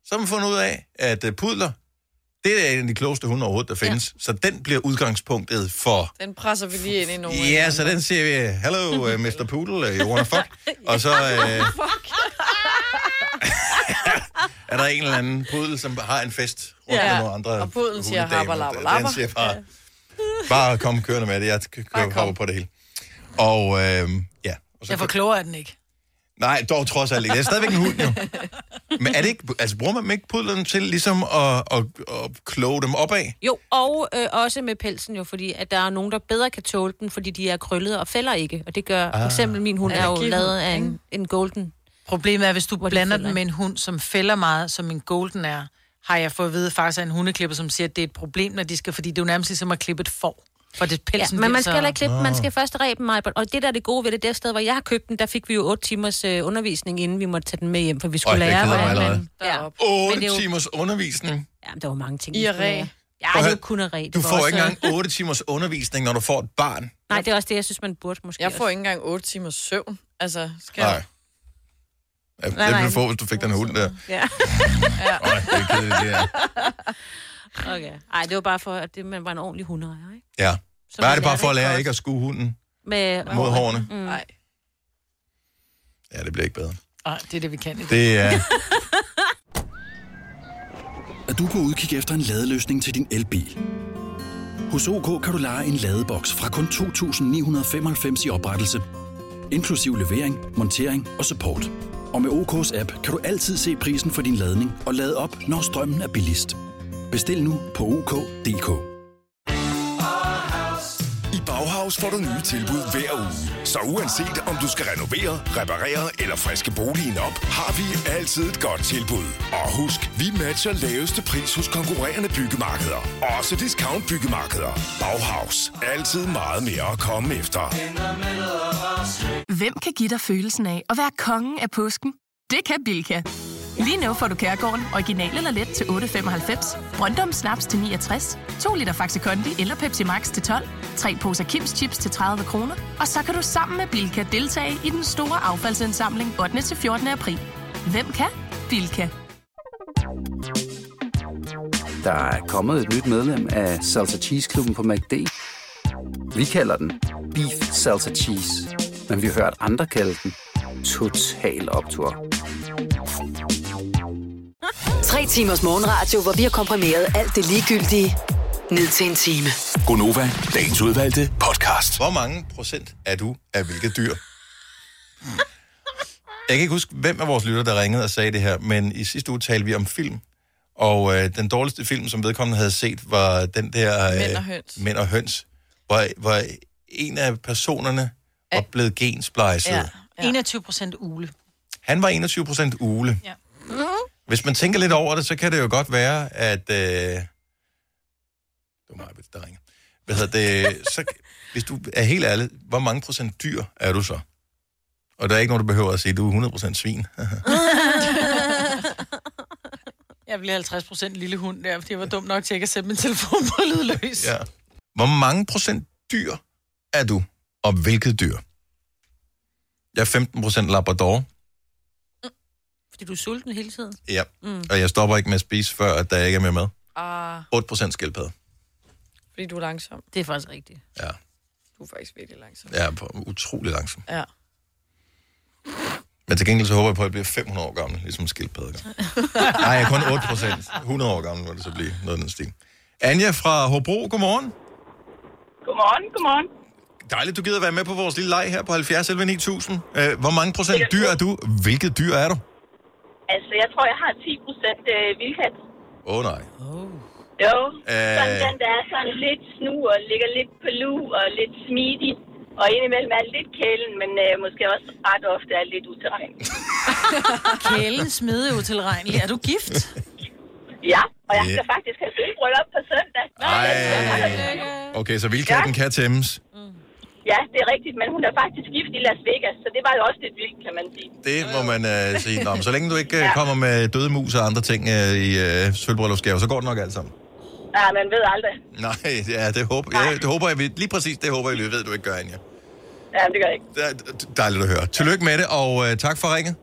A: Så har man fundet ud af, at øh, pudler, det er en af de klogeste hunde overhovedet, der findes. Ja. Så den bliver udgangspunktet for
C: Den presser vi lige ind i nogen.
A: Ja, så den siger vi, hello, uh, Mr. Poodle, uh, you wanna fuck? Og så uh,
C: Fuck.
A: er der en eller anden pudel, som har en fest rundt
C: Ja,
A: med nogle andre
C: og pudlen siger,
A: hundedamer.
C: "Habba, labba, labba."
A: Den siger bare, bare kom kørende med det, jeg kø- kø- hopper på det hele. Og uh, ja. Og
B: Derfor klogere er den ikke.
A: Nej, dog trods alt ikke. Det er stadigvæk en hund, jo. Men er det ikke, altså, bruger man dem ikke pudlerne til ligesom at, at, at kloge dem opad?
D: Jo, og øh, også med pelsen jo, fordi at der er nogen, der bedre kan tåle den, fordi de er krøllede og fælder ikke. Og det gør ah. for
B: Ah.
D: eksempel min hund
B: Ja,
D: er jo
B: giv
D: lavet
B: den,
D: af en, en golden.
B: Problemet er, hvis du blander
D: fælder,
B: den med en hund, som fælder meget, som en golden er, har jeg fået at vide faktisk af en hundeklipper, som siger, at det er et problem, når de skal, fordi det er jo nærmest ligesom at klippe et får. For det
D: Ja,
B: pelsen
D: men
B: bliver
D: man skal
B: så- Ah.
D: heller ikke klippe, den, man skal først ræbe mig. Og det der er det gode ved det, det sted, hvor jeg har købt den, der fik vi jo 8 timers øh, undervisning, inden vi måtte tage den med hjem, for vi skulle
A: Øj, det
D: lære,
A: keder mig
D: hvordan
A: allerede.
D: man... Ja.
A: 8
D: Men det er jo-
A: timers undervisning.
D: Jamen, der var mange ting,
C: I
D: vi
C: er
D: skulle
C: ræ.
D: lære.
A: Prøv
D: Ja,
A: at
D: det er
A: høre,
D: jo kun at ræ. Det
A: Du
D: var
A: får
D: også- øh,
A: ikke engang 8 timers undervisning, når du får et barn.
D: Nej, det er også det, jeg synes, man burde måske
C: Jeg får ikke engang 8 timers søvn. Altså, skal
A: Nej. Ja, det
C: Nej, nej.
A: ville du få, hvis du fik den hund der.
D: Ja.
A: Nej, det er kedeligt, det er.
D: Okay. Ej, det var bare for, at det, man var en ordentlig hundeejer, ikke?
A: Ja.
D: Så
A: Hvad er
D: man
A: det
D: lærer
A: bare for at
D: det
A: lære
D: godt.
A: ikke at skue hunden?
D: Med
A: Mod hårene.
D: Mm.
C: Nej.
A: Ja, det bliver ikke bedre.
B: Nej, det er det, vi kan i dag.
A: Det er...
F: Er du på udkig efter en ladeløsning til din elbil? Hos OK kan du lege en ladeboks fra kun 2.995 i oprettelse, inklusiv levering, montering og support. Og med OK's app kan du altid se prisen for din ladning og lade op, når strømmen er billigst. Bestil nu på OK.dk.
P: I Bauhaus får du nye tilbud hver uge. Så uanset om du skal renovere, reparere eller friske boligen op, har vi altid et godt tilbud. Og husk, vi matcher laveste pris hos konkurrerende byggemarkeder. Også discount byggemarkeder. Bauhaus. Altid meget mere at komme efter.
Q: Hvem kan give dig følelsen af at være kongen af påsken? Det kan Bilka! Lige nu får du Kærgården original eller let til 8.95, Brøndum Snaps til 69, 2 liter Faxi Kondi eller Pepsi Max til 12, 3 poser Kims Chips til 30 kroner, og så kan du sammen med Bilka deltage i den store affaldsindsamling 8. til 14. april. Hvem kan? Bilka.
R: Der er kommet et nyt medlem af Salsa Cheese Klubben på MACD. Vi kalder den Beef Salsa Cheese, men vi har hørt andre kalde den Total Optor.
E: Tre timers morgenradio, hvor vi har komprimeret alt det ligegyldige ned til en time.
A: Gonova, dagens udvalgte podcast. Hvor mange procent er du af hvilket dyr? Jeg kan ikke huske, hvem af vores lytter, der ringede og sagde det her, men i sidste uge talte vi om film. Og øh, den dårligste film, som vedkommende havde set, var den der... Øh,
C: Mænd og høns.
A: Mænd og høns. Hvor, hvor en af personerne var blevet gensplejset. Ja.
B: Ja. 21 procent ule.
A: Han var 21 procent ule.
B: Ja.
A: Hvis man tænker lidt over det, så kan det jo godt være, at... Øh... Det var mig, der ringer. Hvad hedder det? Så, hvis du er helt ærlig, hvor mange procent dyr er du så? Og der er ikke nogen, der behøver at sige, at du er 100 procent svin.
B: Jeg bliver 50 procent lille hund der, fordi jeg var dum nok til ikke at sætte min telefon på lydløs.
A: ja. Hvor mange procent dyr er du, og hvilket dyr? Jeg er 15% labrador,
D: Fordi du er sulten hele tiden.
A: ja.
D: Mm.
A: og jeg stopper ikke med at spise, før at der ikke er mere mad.
C: Ah,
A: 8% skildpadde.
C: fordi du er langsom.
D: Det er faktisk rigtigt.
A: Ja.
C: Du er faktisk virkelig langsom.
A: Jeg er på- utrolig langsom.
C: Ja.
A: Men til gengæld så håber jeg på, at jeg bliver 500 år gammel, ligesom skildpadde. gør. Nej, jeg er kun 8 procent. 100 år gammel må det så blive, noget af den stil. Anja fra Hobro, godmorgen.
S: Godmorgen, godmorgen.
A: Dejligt, du gider være med på vores lille leg her på 70 11 9000. Øh, Hvor mange procent dyr er du? Hvilket dyr er du?
S: Altså, jeg tror, jeg har 10 procent øh, vildkat.
A: Åh oh, nej.
S: Jo,
A: Øh.
S: sådan den, der er sådan lidt snu og ligger lidt på lu og lidt smidig. Og indimellem er lidt kælen, men øh, måske også ret ofte er lidt uterren.
B: Kælen smide utilregnelig. Er du gift?
S: Ja, og jeg skal
A: Ja.
S: faktisk have sølvbryllup på søndag.
A: Ah. Ej. Okay, så vildkatten kan tæmmes.
S: Ja, det er rigtigt, men hun er faktisk gift i Las Vegas, så det var jo også lidt vildt, kan man sige.
A: Det må man øh, sige. Nå, men så længe du ikke øh, kommer med døde mus og andre ting øh, i øh, sølvbryllupsgave, så går det nok alt sammen.
S: Ja, man ved aldrig.
A: Nej, ja, det håber jeg. Det håber jeg vi- lige præcis det håber jeg, vi ved, du ikke gør, Anja.
S: Ja, det gør jeg ikke.
A: Det er Dejligt at høre. Tillykke med det, og øh, tak for ringet.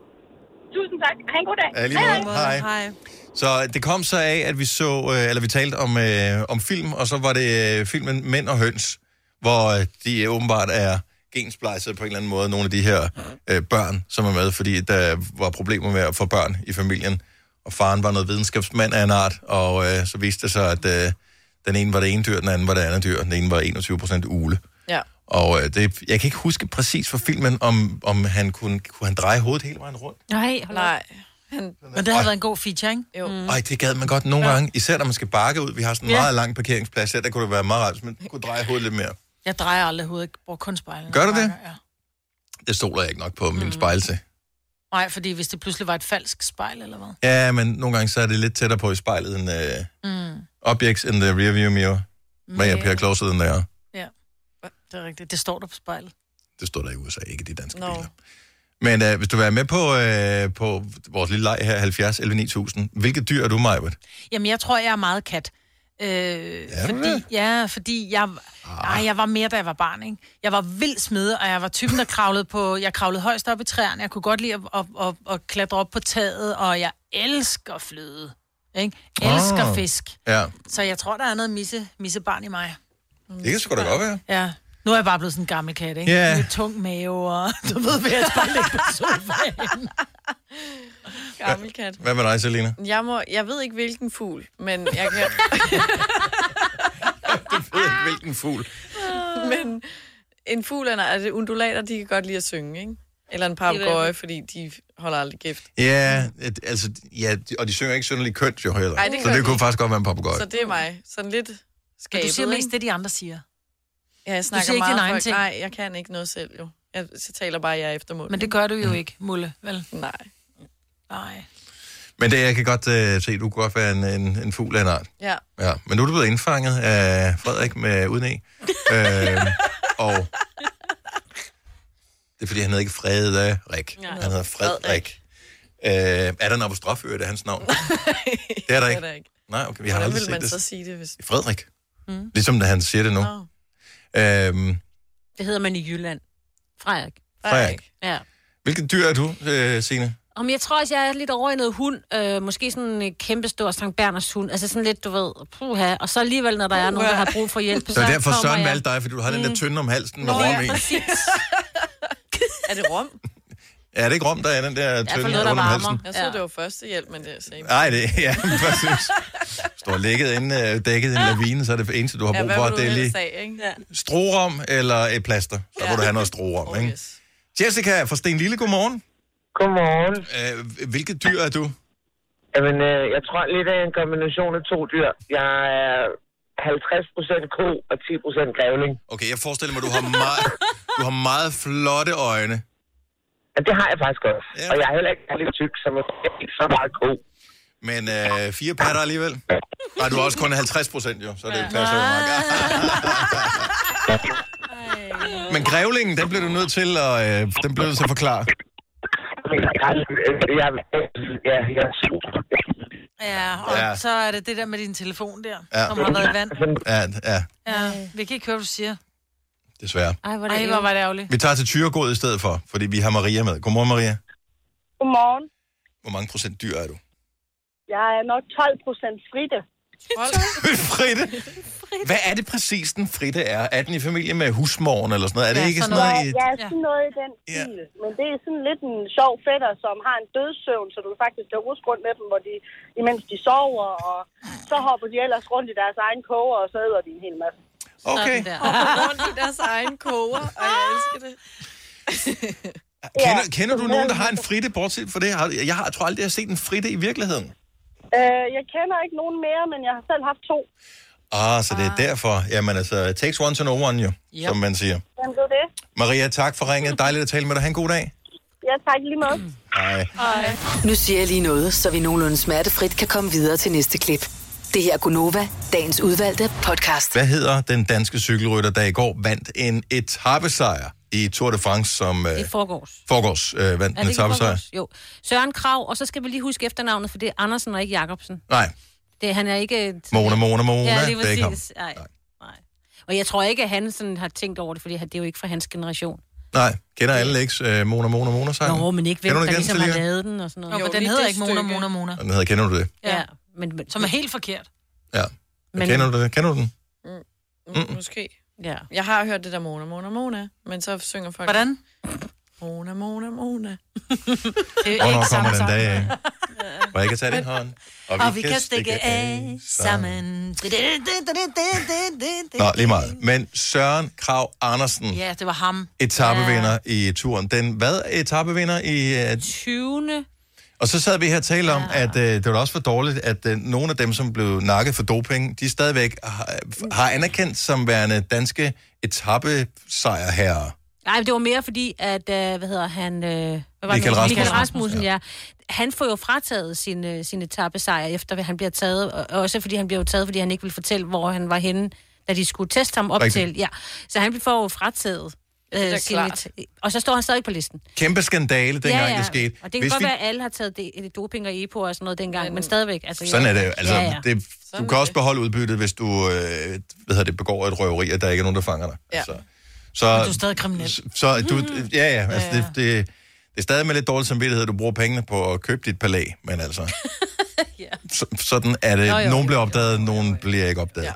S: Tusind tak. Ha' en god dag.
A: Ja, lige måde. Hej. Så øh, det kom så af, at vi så, øh, eller vi talte om, øh, om film, og så var det øh, filmen Mænd og Høns, hvor øh, de åbenbart er gensplejset på en eller anden måde, nogle af de her øh, børn, som er med, fordi der var problemer med at få børn i familien, og faren var noget videnskabsmand af en art, og øh, så viste det sig, at øh, den ene var det ene dyr, den anden var det andet dyr, den ene var 21 procent ule.
C: Ja.
A: Og øh, det, jeg kan ikke huske præcis for filmen, om, om han kunne, kunne han dreje hovedet hele vejen rundt.
B: Nej, hold Nej.
C: Han...
B: Men det har været en god feature, ikke?
C: Jo. Mm.
A: Ej, det gad man godt nogle ja. gange, især når man skal bakke ud. Vi har sådan en
B: Ja.
A: ja. meget lang parkeringsplads her, der kunne det være meget rart, hvis man kunne dreje hovedet lidt mere.
B: Jeg drejer aldrig hovedet. Jeg bruger kun spejlet.
A: Gør du det? Det stoler jeg ikke nok på, min mm. spejl til.
B: Nej, fordi hvis det pludselig var et falsk spejl, eller hvad?
A: Ja, men nogle gange så er det lidt tættere på i spejlet end uh,
B: Mm.
A: objects in the rearview mirror. Men jeg bliver closer than they are.
B: Ja, det er rigtigt. Det står der på spejlet.
A: Det står der i USA, ikke i de danske.
B: Nå.
A: Men uh, hvis du vil være med på, uh, på vores lille leg her, 70 11 9000, hvilket dyr er du, Majbert?
B: Jamen, jeg tror, jeg er meget kat. Øh, er
A: du
B: fordi,
A: det?
B: Ja, fordi jeg, ah. jeg var mere, da jeg var barn, ikke? Jeg var vild smed, og jeg var typen, der kravlede på... Jeg kravlede højst op i træerne. Jeg kunne godt lide at, at, at, at klatre op på taget, og jeg elsker fløde. Ikke? Elsker
A: Ah.
B: fisk.
A: Ja,
B: Så jeg tror, der er noget misse, missebarn i mig.
A: det kan sgu da godt være.
B: Ja. Nu er jeg bare blevet sådan en gammel kat, ikke?
A: Ja.
B: Med tung mave, og du ved, hvad jeg skal ligge på sofaen.
C: Gammel kat.
A: Hvad med dig, Selina?
C: Jeg, må, jeg ved ikke, hvilken fugl, men jeg kan...
A: Hvilken fugl?
C: men en fugl, er, er det undulater, de kan godt lide at synge, ikke? Eller en papegøje, fordi de holder aldrig gift.
A: Ja, et, altså, ja, de- og de synger ikke synderligt kønt jo heller.
C: Ej, det
A: så
C: gør de
A: det kunne
C: ikke.
A: faktisk godt være en papegøje.
C: Så det er mig. Sådan lidt skabet,
B: Men du siger mest
C: ikke?
B: det, de andre siger.
C: Ja, jeg
B: Du
C: snakker
B: siger ikke
C: meget
B: dine egne
C: folk.
B: ting.
C: Nej, jeg kan ikke noget selv, jo. Jeg, jeg taler bare, jeg er efter munden.
B: Men det gør du
A: Mm.
B: jo ikke, Mulle, vel?
C: Nej.
B: Nej.
A: Men det, jeg kan godt øh, se, du kunne godt være en, en, en fugl af en art.
C: Ja.
A: Ja, men nu er du blevet indfanget af Frederik med uden e. øh, og det er, fordi han hedder ikke Frederik.
C: Nej.
A: Han hedder Frederik. Øh, er der en apostrof i hans navn? det er der ikke. Nej, okay, vi har
C: Hvordan
A: aldrig
C: ville
A: set
C: man så
A: det.
C: sige Hmm? det, hvis...
A: Frederik.
D: Mm.
A: Ligesom da han siger det nu.
D: Nå.
A: Øhm,
D: Det hedder man i Jylland. Frederik.
A: Frederik.
D: Ja.
A: Hvilket dyr er du, øh, Signe?
D: Om jeg tror også, jeg er lidt over i noget hund. Øh, måske sådan en kæmpestor Sankt Berners hund. Altså sådan lidt, du ved, puha. Og så alligevel, når der er nogen, der har brug for hjælp,
A: Så derfor
D: kommer
A: Søren
D: jeg.
A: valgte dig, fordi du har den der
D: Mm.
A: tynde om halsen med
D: Nå,
A: rom i.
D: ja, præcis.
C: er det rom?
A: Ja, det er ikke rom, der er den der
C: Jeg
A: tynde rundt om halsen.
C: Jeg troede, det var førstehjælp, men det er same.
A: Nej, det ja, præcis. Står ligget inde, øh, dækket i en lavine, så er det eneste, du har brug for,
C: hvad vil
A: det er
C: du
A: lige
C: helst have, ikke? Ja.
A: strorum eller et plaster. Så må du have noget strorum, ikke? Jessica fra Sten Lille, godmorgen.
T: Godmorgen.
A: Øh, hvilket dyr er du?
T: Jamen, øh, jeg tror lidt af en kombination af to dyr. Jeg er 50% ko og 10% grævling.
A: Okay, jeg forestiller mig, du har meget, du har meget flotte øjne.
T: Ja, det har jeg faktisk også. Ja. Og jeg er heller ikke særlig tyk, så jeg er ikke så meget ko.
A: Men øh, fire patter alligevel. Nej, du er også kun 50 procent, jo, så det passer jo meget. Men grævlingen, den bliver du nødt til at, øh, den bliver du til at forklare.
T: Jeg, ja, jeg er super.
B: Ja, og
A: Ja.
B: ja. så er det det der med din telefon der,
A: Ja. Altså-
B: ja. som har været i vand.
A: Ja, ja.
B: Ja, vi kan ikke høre, hvad du siger.
A: desværre.
B: Ej, hvor, Ej, hvor var det ærgerligt.
A: Vi tager til Tyregod i stedet for, fordi vi har Maria med. Godmorgen, Maria.
U: Godmorgen.
A: Hvor mange procent dyr er du?
U: Jeg er nok 12 procent fritte.
A: Fritte? Hvad er det præcis, den fritte er? Er den i familie med husmoren eller sådan noget? Er det ikke sådan noget... i-
U: Ja, ja, sådan noget i den stil. Men det er sådan lidt en sjov fætter, som har en dødssøvn, så du kan faktisk kan ruske rundt med dem, hvor de, imens de sover, og så hopper de ellers rundt i deres egen koger, og så æder de en hel masse.
A: Okay.
C: rundt i deres egen koger, og jeg elsker det.
A: Kender, kender du nogen, der har en fritte, bortset fra det? Har- Jeg, har, jeg tror aldrig, jeg har set en fritte i virkeligheden.
U: Øh, jeg kender ikke nogen mere, men jeg har selv haft to.
A: Ah, så det er derfor. Jamen altså, takes one to know one, jo,
U: Ja.
A: som man siger.
U: Jamen, det er det.
A: Maria, tak for ringet. Dejligt at tale med dig. Ha' en god dag.
U: Jeg tager lige med.
A: Hej.
E: Nu siger jeg lige noget, så vi nogenlunde smertefrit kan komme videre til næste klip. Det her er Gunova, dagens udvalgte podcast.
A: Hvad hedder den danske cykelrytter, der i går vandt en etappesejr i Tour de France, som øh,
D: I forgårs.
A: forgårs øh, vandt
D: Er
A: en
D: det ikke i
A: etappesejr?
D: forgårs? Jo. Søren Krav, og så skal vi lige huske efternavnet, for det er Andersen og ikke Jacobsen.
A: Nej,
D: Det, han er ikke... øh,
A: Mona, Mona, Mona.
D: Ja,
A: det
D: lige
A: er ikke ham.
D: præcis. Nej. Nej. Og jeg tror ikke, at han sådan har tænkt over det, fordi han- det er jo ikke fra hans generation.
A: Nej, kender alle ikke øh, Mona, Mona, Mona sangen?
D: Nå, men ikke hvem,
A: Kender du
D: der
A: ikke den,
D: ligesom har
A: Celia?
D: lavet den og sådan noget.
B: Jo,
D: Jo,
B: den
D: lige
B: hedder
D: det
B: ikke Mona,
D: stykke.
B: Mona, Mona.
A: Den hedder, kender du det?
D: Ja. Men, men,
B: Som er helt forkert.
A: Ja. Men... Kender du det? Kender du den?
C: Mm, måske.
D: Ja.
C: Jeg har hørt det der Mona, Mona, Mona, men så synger folk...
B: Hvordan?
C: Mona, Mona, Mona. Øh,
B: det
A: Hvornår kommer den dag af? Hvor jeg kan tage din hånd, og vi,
B: Og vi kan stikke af sammen.
A: Nå, lige meget. Men Søren Krav Andersen,
B: Ja, det var ham.
A: etappevinder i turen. Den hvad etappevinder i... øh,
D: 20.
A: Og så sad vi her og talte om, at øh, det var da også for dårligt, at øh, nogle af dem, som blev nakket for doping, de stadigvæk har, har anerkendt som værende danske etappesejrherrer.
D: Nej, men det var mere fordi, at, øh, hvad hedder han... Øh, hvad var
A: Michael
D: det,
A: Rasmussen.
D: Michael Rasmussen, ja. Han får jo frataget sin, øh, sin etappesejr, efter hvad han bliver taget. Og og også fordi han bliver jo taget, fordi han ikke vil fortælle, hvor han var henne, da de skulle teste ham op
A: Rigtigt.
D: til. Ja. Så han får jo frataget øh,
A: Det er da
D: sin...
A: klart.
D: Et, og så står han stadig på listen.
A: Kæmpe skandale, dengang det skete.
D: Og det kan
A: Hvis
D: godt
A: vi-
D: være, at alle har taget det, doping og EPO og sådan noget dengang, men, men stadigvæk. Altså,
A: Sådan er det jo. Altså,
D: ja, ja.
A: Det, du kan også beholde udbyttet, hvis du øh, hvad hedder det, begår et røveri, og der ikke er nogen, der fanger dig.
B: Ja.
A: Så,
B: Men du
A: så,
B: er stadig kriminel.
A: så du, ja, ja, altså,
B: Ja, ja.
A: Det, det, det er stadig med lidt dårlig samvittighed, at du bruger pengene på at købe dit palæ, men altså, så, sådan er det.
P: Nå,
A: Nå,
P: jo.
A: jo, nogen bliver opdaget, nogen bliver ikke opdaget. Ja.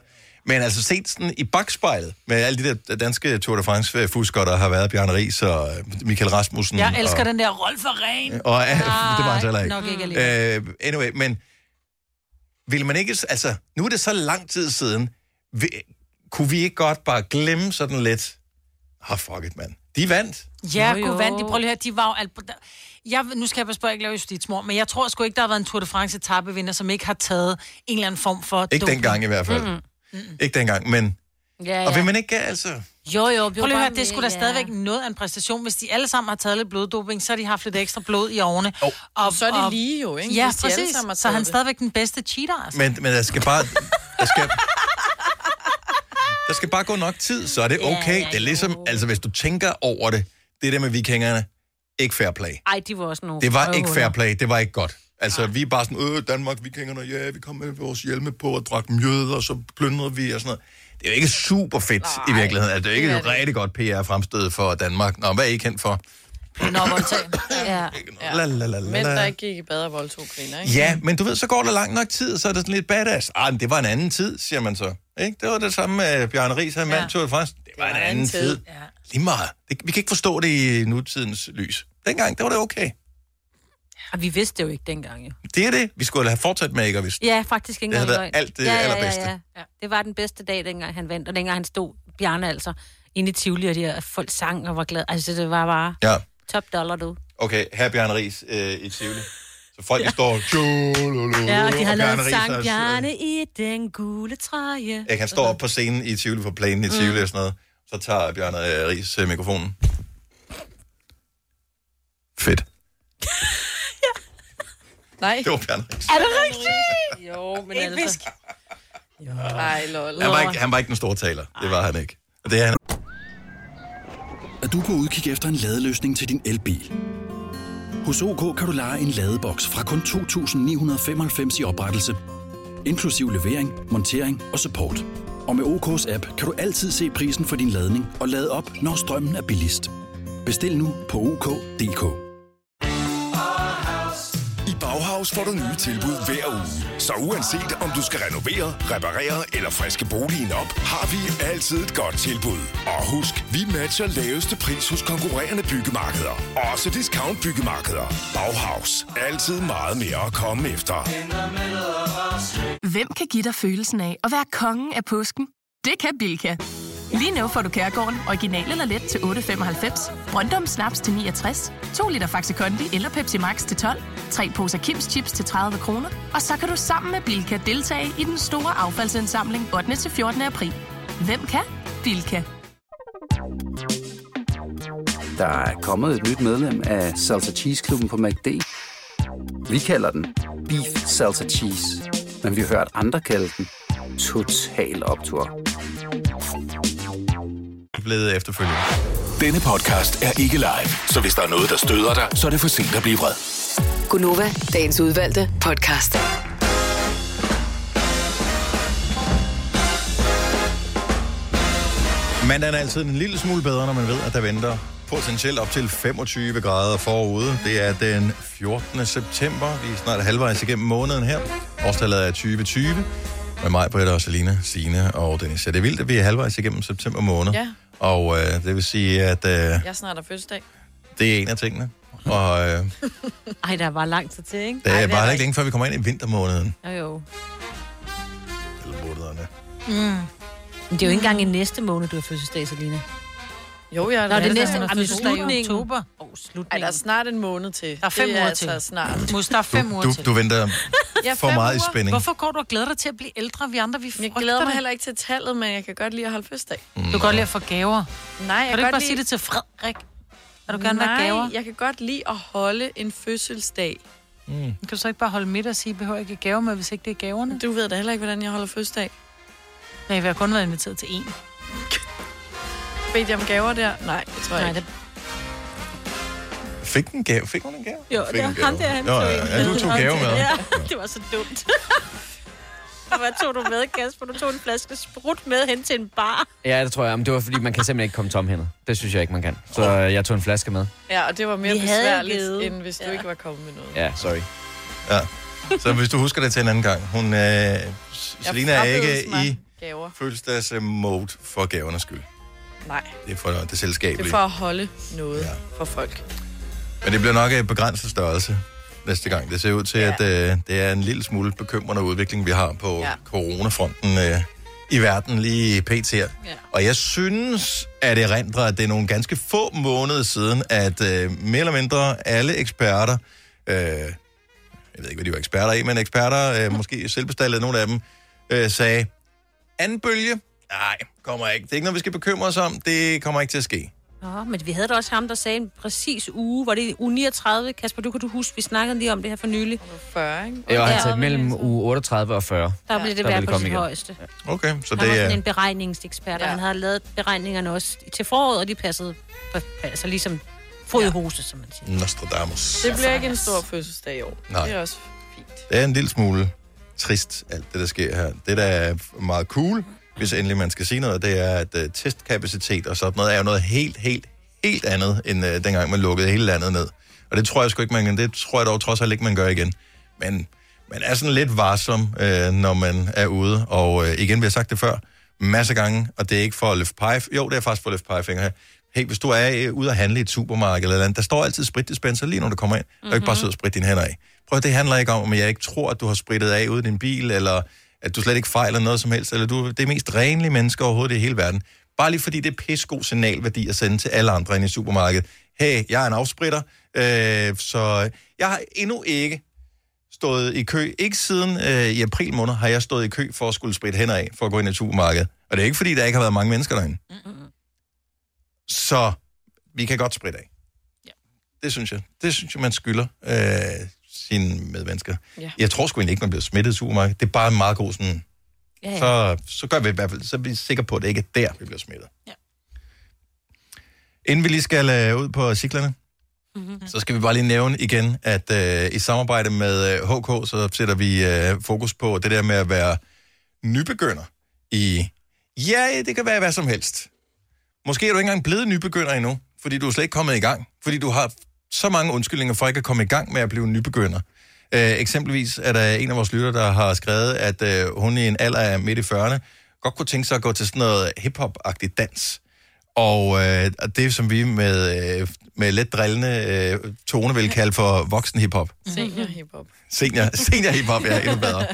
A: Men altså set sådan i bagspejlet med alle de der danske Tour de France-fuskere, der har været Bjarne Ries og øh, Michael Rasmussen.
B: Jeg elsker
A: og,
B: den der Rolf og Ren.
A: Øh, og, ja, det var han så heller
B: Nok ikke
A: ikke. ikke øh, anyway, men vil man ikke... Altså, nu er det så lang tid siden. Vi, kunne vi ikke godt bare glemme sådan lidt... Ah, fuck it, mand. De vandt.
B: Ja, god vand. De, prøv lige at høre, de var jo... Alt... der- Jeg, nu skal jeg passe på, at jeg ikke laver justitsmor, men jeg tror sgu ikke, der har været en Tour de France etapevinder, som ikke har taget en eller anden form for
A: Ikke dengang i hvert fald.
B: Mm-hmm.
A: Ikke dengang, men...
D: Ja, ja.
A: Og vil man ikke... Altså,
D: Jo,
B: Prøv
D: jo.
B: lige at
D: bare
B: høre, det skulle da
D: med, ja.
B: stadigvæk noget af en præstation. Hvis de alle sammen har taget lidt bloddoping, så har de haft lidt ekstra blod i årene.
A: Oh.
B: Og,
C: Så er de lige jo, ikke?
B: Ja,
C: Hvis de alle
B: præcis.
C: sammen har
B: Så
C: taget
B: er han
C: det.
B: stadigvæk den bedste cheater, altså.
A: Men, men der skal bare... Der skal, der skal bare gå nok tid, så er det okay.
D: ja,
A: det er ligesom, altså hvis du tænker over det, det der med vikingerne, ikke fair play.
D: Ej, de var også nogle...
A: Det var ikke
D: røvhuller.
A: fair play, det var ikke godt. Altså, vi er bare sådan, øh, Danmark, vikingerne, ja, vi kom med vores hjelme på og drak mjød, og så plyndrede vi og sådan noget. Det er jo ikke super fedt Nej, i virkeligheden. Altså, det er jo ikke
B: det er
A: et rigtig godt PR-fremstød for Danmark. Nå, hvad er I kendt for?
B: Nå, voldtagen.
D: ja.
A: La, la, la, la,
C: Mænd,
A: la.
C: der ikke gik i bad og voldtog kvinder, ikke?
A: Ja, men du ved, så går der lang nok tid, og så er det sådan lidt badass. Ah, men det var en anden tid, siger man så. Ikke? Det var det samme med Bjørn Ries, han ja. mand tog faktisk. Det var en anden tid. tid.
C: Ja.
A: Lige meget. Det, vi kan ikke forstå det i nutidens lys. Dengang, der var det okay.
D: Og vi vidste det jo ikke dengang, jo.
A: Det er det. Vi skulle have fortsat med ikke at vidste.
D: Ja, faktisk ikke
A: Det
D: engang
A: havde
D: løgn.
A: været alt det
D: ja,
A: allerbedste.
D: Ja, ja. Det var den bedste dag, dengang han vandt, og dengang han stod, Bjarne altså, inde i Tivoli, og de her folk sang og var glade. Altså, det var bare
A: Ja.
D: top dollar, du.
A: Okay, her er Bjørn Ries øh, i Tivoli. Så folk, de står...
D: Ja, og de har lavet en
A: Bjarne øh. Riis
D: sang,
A: er-
D: Bjarne i den gule træje.
A: Ikke, han står op på scenen i Tivoli, på planen i Tivoli
D: Mm.
A: og sådan noget. Så tager Bjørn øh, Ries øh, mikrofonen. Fedt.
C: Nej.
A: Det var Bjørn Ries.
C: Er det rigtigt? Jo, men altså... Fisk. Ej, lol.
A: Han var, ikke, han var ikke den store taler. Det var han ikke. Og det er han.
F: Er du på udkig efter en ladeløsning til din elbil? Hos OK kan du lege en ladeboks fra kun 2.995 i oprettelse, inklusiv levering, montering og support. Og med OK's app kan du altid se prisen for din ladning og lade op, når strømmen er billigst. Bestil nu på OK.dk.
P: I Bauhaus får du nye tilbud hver uge. Så uanset om du skal renovere, reparere eller friske boligen op, har vi altid et godt tilbud. Og husk, vi matcher laveste pris hos konkurrerende byggemarkeder. Også discount byggemarkeder. Bauhaus. Altid meget mere at komme efter.
Q: Hvem kan give dig følelsen af at være kongen af påsken? Det kan Bilka. Lige nu får du Kærgården original eller let til 8.95, Brøndum Snaps til 69, 2 liter Faxi Kondi eller Pepsi Max til 12, 3 poser Kims Chips til 30 kroner, og så kan du sammen med Bilka deltage i den store affaldsindsamling 8. til 14. april. Hvem kan? Bilka.
R: Der er kommet et nyt medlem af Salsa Cheese Klubben på MACD. Vi kalder den Beef Salsa Cheese, men vi har hørt andre kalde den Total Optor.
A: blevet efterfølgende.
G: Denne podcast er ikke live, så hvis der er noget, der støder dig, så er det for sent at blive vred.
E: Gunova, dagens udvalgte podcast.
A: Mandagen er altid en lille smule bedre, når man ved, at der venter potentielt op til 25 grader forude. Det er den 14. september. Vi er snart halvvejs igennem måneden her. Årstallet er 2020. Med mig, Britta og Selina, Signe og Dennis. Ja, det er vildt, at vi er halvvejs igennem september måned.
C: Ja.
A: Og øh, det vil sige, at øh,
C: Jeg snart har fødselsdag.
A: det er en af tingene. Og øh,
D: Ej, der var lang tid til, ikke?
A: det er bare ikke længe, før vi kommer ind i vintermåneden.
D: Jo, jo.
A: Eller månederne.
D: Mm. Men det er jo ikke engang i næste måned, du har fødselsdag, Selina.
C: Jo, jeg
D: Nå, det er
C: Hun
D: næste
C: har
D: Ej, men
C: fødselsdag i
D: slutningen.
C: oktober.
D: Oh,
C: Ej, der er snart en måned til. Der
B: er fem
C: det er
B: uger
C: altså
B: til.
C: snart.
B: Mus, der er fem uger
A: Du,
B: til.
A: du venter
C: Ja,
A: for
C: fem
A: meget i
C: uger.
A: spænding.
B: Hvorfor går du og glæder dig til at blive ældre? Vi andre, vi frygter
C: Jeg glæder mig
B: det.
C: heller ikke til tallet, men jeg kan godt lide at holde fødselsdag.
A: Mm.
B: Du kan godt lide at få gaver.
C: Nej, jeg
B: Kan du
C: godt
B: ikke bare
C: lide-
B: sige det til Frederik? Vil du gerne være gaver?
C: Nej, jeg kan godt lide at holde en fødselsdag.
A: Mm.
B: Kan du så ikke bare holde midt og sige, at I behøver ikke gaver med, hvis ikke det er gaverne?
C: Du ved da heller ikke, hvordan jeg holder fødselsdag.
B: Nej, vi har kun været inviteret til én.
C: Bedte jeg om gaver der? Nej, det tror jeg
B: Nej,
C: ikke.
A: Fik, den gave? Fik hun en gave?
C: Jo, det
A: Fik en
C: var
A: gave.
C: ham der, han
A: Nå,
C: tog
A: ja,
C: en
A: ja, du
C: med.
A: tog gave med.
C: Ja.
D: det var så dumt. Hvad tog du med, Kasper? Du tog en flaske sprut med hen til en bar.
V: Ja, det tror jeg. Men det var, fordi man kan simpelthen ikke komme tomhændet. Det synes jeg ikke, man kan. Så øh, jeg tog en flaske med.
C: Ja, og det var mere
D: Vi havde jo
C: besværligt,
D: givet.
C: end hvis du ikke var kommet med noget.
V: Ja, sorry.
A: Ja. Så hvis du husker det til en anden gang. Hun, øh, Selina er ikke i
C: Gaver.
A: fødselsdags øh, mode for gavernes skyld.
C: Nej,
A: Det er for det
C: det er
A: selskabelige.
C: for at holde noget ja. for folk.
A: Men det bliver nok en begrænset størrelse næste gang. Det ser ud til, ja. at øh, det er en lille smule bekymrende udvikling, vi har på ja. coronafronten øh, i verden lige pt. Ja. Og jeg synes, at det rendrer, at det er nogle ganske få måneder siden, at øh, mere eller mindre alle eksperter, øh, jeg ved ikke, hvad de var eksperter i, men eksperter, øh, måske selvbestallede nogle af dem, øh, sagde, anden bølge, nej, kommer ikke. Det er ikke noget, vi skal bekymre os om. Det kommer ikke til at ske.
D: Nå, men vi havde da også ham, der sagde en præcis uge. Var det uge 39? Kasper, du kan du huske, vi snakkede lige om det her for nylig.
C: 40, ikke?
V: Jeg var altså mellem uge 38 og 40.
D: Der ville det
V: ville
D: være på
V: komme
D: sit
V: igen.
D: højeste.
A: Okay, så
D: han var
V: det er...
D: sådan en beregningsekspert, ja. og han havde lavet beregningerne også til foråret, og de passede på- altså ligesom fod i hose, som man siger.
A: Nostradamus. Altså,
C: Det bliver ikke en stor fødselsdag i år.
A: Nej.
C: Det er også
A: Det er en lille smule trist, alt det, der sker her. Det, der er meget cool, hvis endelig man skal sige noget, det er, at uh, testkapacitet og sådan noget er jo noget helt, helt, helt andet, end uh, dengang man lukkede hele landet ned. Og det tror jeg sgu ikke, man Det tror jeg dog trods alt ikke, man gør igen. Men man er sådan lidt varsom, uh, når man er ude. Og uh, igen, vi har sagt det før, masser af gange, og det er ikke for at løfte pege... Jo, det er faktisk for at løfte pegefinger her. Hey, hvis du er øh, ude at handle i et supermarked eller et eller andet, der står altid spritdispenser lige når du kommer ind. Mm-hmm. Du kan ikke bare sidde og spritte dine hænder af. Prøv at det handler ikke om, om jeg ikke tror, at du har sprittet af ude i din bil, eller at du slet ikke fejler noget som helst, eller du er det mest renlige menneske overhovedet i hele verden. Bare lige fordi det er pissegod signalværdi at sende til alle andre ind i supermarkedet. Hey, jeg er en afspritter, øh, så jeg har endnu ikke stået i kø. Ikke siden øh, i april måned har jeg stået i kø for at skulle spritte hænder af, for at gå ind i supermarkedet. Og det er ikke fordi, der ikke har været mange mennesker derinde. Mm-hmm. Så vi kan godt spritte af. Ja. Det synes jeg. Det synes jeg, man skylder øh, sine medmennesker.
C: Ja.
A: Jeg tror sgu egentlig ikke, man bliver smittet i supermarkedet. Det er bare en meget god sådan...
D: Ja,
A: Ja. Så, så gør vi i hvert fald, så er vi sikre på, at det ikke er der, vi bliver smittet. Ja. Inden vi lige skal øh, ud på cyklerne, mm-hmm. så skal vi bare lige nævne igen, at øh, i samarbejde med øh, HK, så sætter vi øh, fokus på det der med at være nybegynder i Ja, det kan være hvad som helst. Måske er du ikke engang blevet nybegynder endnu, fordi du er slet ikke kommet i gang. Fordi du har så mange undskyldninger for ikke at komme i gang med at blive nybegynder. Øh, eksempelvis er der en af vores lytter, der har skrevet, at øh, hun i en alder af midt i 40'erne godt kunne tænke sig at gå til sådan noget hip-hop-agtig dans. Og, øh, og det, som vi med, øh, med let drillende øh, tone vil kalde for voksen hip-hop.
C: Senior hiphop.
A: Senior, senior hip-hop er endnu bedre.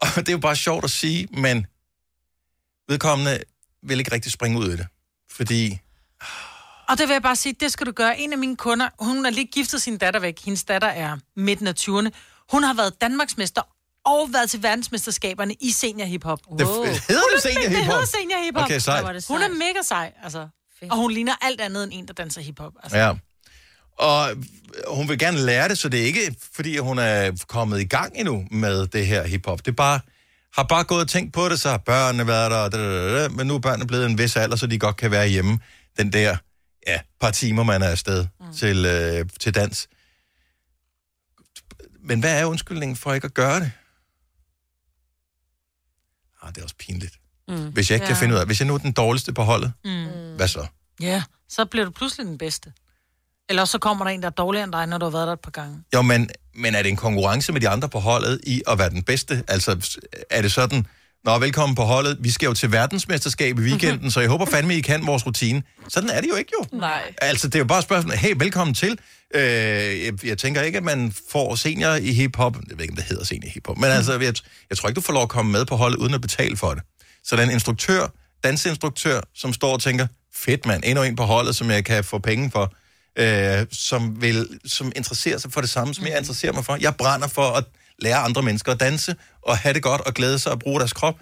A: Og det er jo bare sjovt at sige, men vedkommende vil ikke rigtig springe ud i det. Fordi
B: Og det vil jeg bare sige, det skal du gøre. En af mine kunder, hun har lige giftet sin datter væk. Hendes datter er midten af 20'erne. Hun har været Danmarksmester og været til verdensmesterskaberne i senior hiphop.
A: Det- hedder det
B: Hun er-
A: senior
B: Det
A: hiphop?
B: hedder senior hiphop.
A: Okay, sejt. Hvor var det
B: Hun er mega sej, altså. Og hun ligner alt andet end en, der danser hiphop. Altså.
A: Ja. Og hun vil gerne lære det, så det er ikke, fordi hun er kommet i gang endnu med det her hiphop. Det er bare, har bare gået og tænkt på det, så har børnene været der, og da, da, da, da, men nu er børnene blevet en vis alder, så de godt kan være hjemme den der ja, par timer, man er afsted mm. til, øh, til dans. Men hvad er undskyldningen for ikke at gøre det? Ah, det er også pinligt.
B: Mm.
A: Hvis jeg ikke ja. kan finde ud af, hvis jeg nu er den dårligste på holdet,
B: Mm.
A: hvad så?
B: Ja, så bliver du pludselig den bedste. Eller også så kommer der en, der er dårligere end dig, når du har været der et par gange.
A: Jo, men, men er det en konkurrence med de andre på holdet i at være den bedste? Altså, er det sådan, Nå, velkommen på holdet, vi skal jo til verdensmesterskab i weekenden, så jeg håber fandme, I kan vores rutine. Sådan er det jo ikke jo.
C: Nej.
A: Altså, det er jo bare et spørgsmål, hey, velkommen til. Øh, jeg, jeg tænker ikke, at man får senior i hiphop. Jeg ved ikke, om det hedder senior i hiphop, men altså, jeg, jeg tror ikke, du får lov at komme med på holdet, uden at betale for det. Så der er en instruktør, dansinstruktør, som står og tænker, fedt mand, endnu en på holdet, som jeg kan få penge for, øh, som, vil, som interesserer sig for det samme, som jeg interesserer mig for. Jeg brænder for at lære andre mennesker at danse, og have det godt, og glæde sig og bruge deres krop.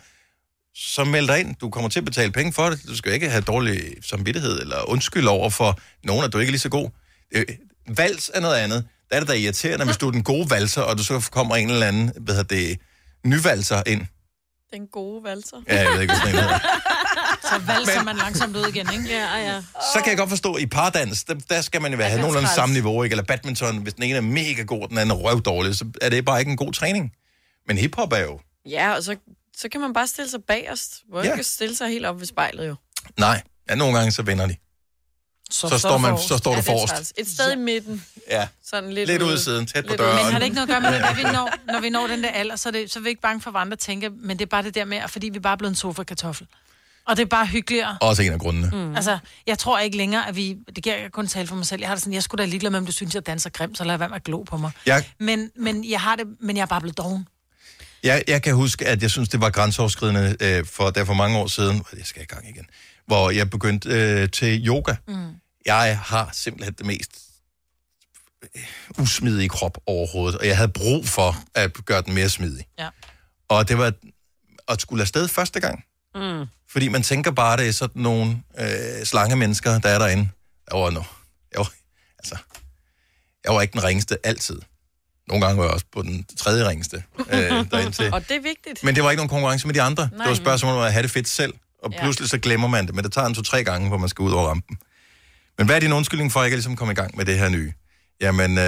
A: Så meld dig ind. Du kommer til at betale penge for det. Du skal ikke have dårlig samvittighed eller undskyld over for nogen, at du ikke er lige så god. Øh, Vals er noget andet. Der er det da irriterende, hvis du er den gode valser, og du så kommer en eller anden, hvad hedder det, nyvalser ind.
C: Den gode valser.
A: Ja, jeg ved ikke, hvad sådan en hedder.
B: Så valser man langsomt ud igen, ikke?
C: Ja, ja.
A: Så kan jeg godt forstå, at i pardans, der, der skal man jo være, have nogenlunde
B: træls.
A: samme niveau, ikke? Eller badminton, hvis den ene er mega god, og den anden er røvdårlig, så er det bare ikke en god træning. Men hiphop er jo,
C: Ja, og så, så kan man bare stille sig bagerst. Hvor
A: Ja.
C: ja. kan stille sig helt op ved spejlet jo.
A: nej, ja, nogle gange så vinder de. Så står man- så står du
C: det er
A: forrest.
C: træls. Et sted i midten.
A: Ja,
C: Sådan lidt,
A: lidt, lidt ude
C: ude.
A: i siden, tæt på
C: Lidt
A: døren.
C: ude.
B: Men har det ikke noget at gøre med,
A: Ja.
B: hvad vi når, når vi når den der alder, så er, det, så er vi ikke bange for, hvad andre tænker, men det er bare det der med, at fordi vi bare er blevet en sofa-kartoffel. Og det er bare hyggeligere.
A: Også en af grundene.
B: Mm. Altså, jeg tror ikke længere, at vi... Det kan jeg kun tale for mig selv. Jeg har det sådan, jeg skulle da ligeglad med, om du synes, jeg danser grimt, så lad være med at glo på mig.
A: Jeg,
B: Men, men jeg har det... Men jeg er bare blevet doven.
A: Jeg, jeg kan huske, at jeg synes, det var grænseoverskridende øh, for, der for mange år siden, jeg skal i gang igen, hvor jeg begyndte øh, til yoga. Mm. Jeg har simpelthen det mest øh, usmidige krop overhovedet, og jeg havde brug for at gøre den mere smidig.
B: Ja.
A: Og det var at skulle afsted første gang,
B: Mm.
A: fordi man tænker bare, det er sådan nogle øh, slange mennesker, der er derinde. Jeg var, no, jeg var, altså, jeg var ikke den ringeste altid. Nogle gange var jeg også på den tredje ringeste øh, derinde til.
C: Og det er vigtigt.
A: Men det var ikke nogen konkurrence med de andre. Nej. Det
C: Nej.
A: var et spørgsmål om at have det fedt selv. Og
C: Ja.
A: pludselig så glemmer man det, men det tager en to-tre gange, hvor man skal ud over rampen. Men hvad er din undskyldning for at ikke at ligesom komme i gang med det her nye? Jamen, øh,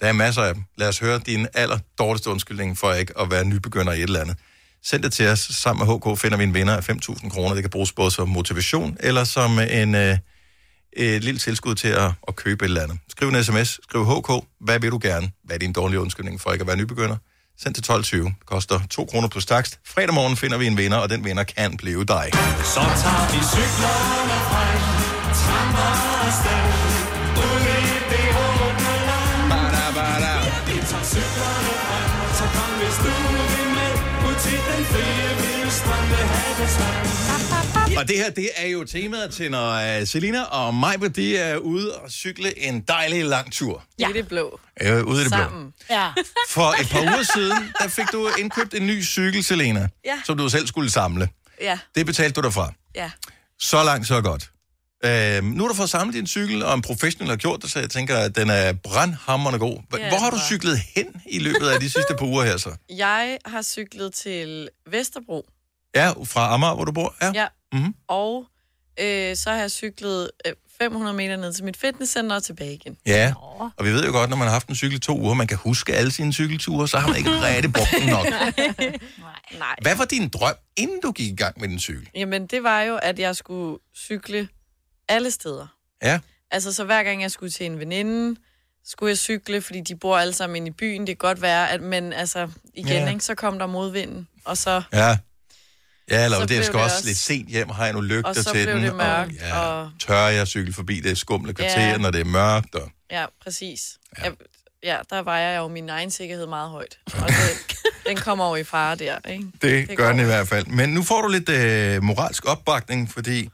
A: der er masser af dem. Lad os høre din aller dårligste undskyldning for ikke at være nybegynder i et eller andet. Send det til os. Sammen med HK finder vi en vinder af 5.000 kroner. Det kan bruges både som motivation eller som en, øh, et lille tilskud til at, at købe et eller andet. Skriv en sms. Skriv HK. Hvad vil du gerne? Hvad er din dårlige undskyldning for ikke at være nybegynder? Send til 12.20. Det koster 2 kroner plus takst. Fredag morgen finder vi en vinder, og den vinder kan blive dig.
L: Så tager vi cyklerne frem, tramper afsted. Ud i det åbne land. Vi tager cyklerne frem, så kom hvis du vil med. Ud til den frie vilde strand ved havets rand.
A: Og det her, det er jo temaet til, når øh, Selina og Majbe, de er ude og cykle en dejlig lang tur.
C: Ja. I det blå.
A: Øh, ude i det blå.
C: Sammen.
B: Ja.
A: For et par uger siden, der fik du indkøbt en ny cykel, Selena,
C: Ja.
A: som du selv skulle samle.
C: Ja,
A: Det betalte du dig fra.
C: ja.
A: Så langt, så godt. Øh, nu har du fået samlet din cykel, og en professionel har gjort det, så jeg tænker, at den er brandhammerende god. Hvor
C: Ja,
A: hvor har du
C: den var.
A: cyklet hen i løbet af de sidste par uger her så?
C: Jeg har cyklet til Vesterbro.
A: Ja, fra Amager, hvor du bor? Ja.
C: Ja.
A: Mhm.
C: Og øh, så har jeg cyklet øh, 500 meter ned til mit fitnesscenter og tilbage igen.
A: Ja, og vi ved jo godt, når man har haft en cykel i to uger, man kan huske alle sine cykelture, så har man ikke rigtig brugt den nok.
C: Nej.
A: Hvad var din drøm, inden du gik i gang med din cykel?
C: Jamen, det var jo, at jeg skulle cykle alle steder.
A: Ja.
C: Altså, så hver gang jeg skulle til en veninde, skulle jeg cykle, fordi de bor alle sammen inde i byen. Det kan godt være, at, men altså, igen,
A: Ja.
C: ja. ikke, så kom der modvinden, og så,
A: Ja. Ja, eller
C: Så
A: det,
C: blev
A: jeg skal
C: det
A: også
C: også-
A: lidt sent hjem, har jeg nu
C: og
A: lygter
C: så
A: til
C: blev
A: den,
C: det mørkt,
A: og
C: ja. og
A: tør jeg cykle forbi det skumle kvarter,
C: Ja.
A: når det er mørkt, og
C: ja, præcis. Ja. Jeg, ja, der vejer jeg jo min egen sikkerhed meget højt, og det, den kommer over i fare der, ikke?
A: det, det gør den i hvert fald. Men nu får du lidt øh, moralsk opbakning, fordi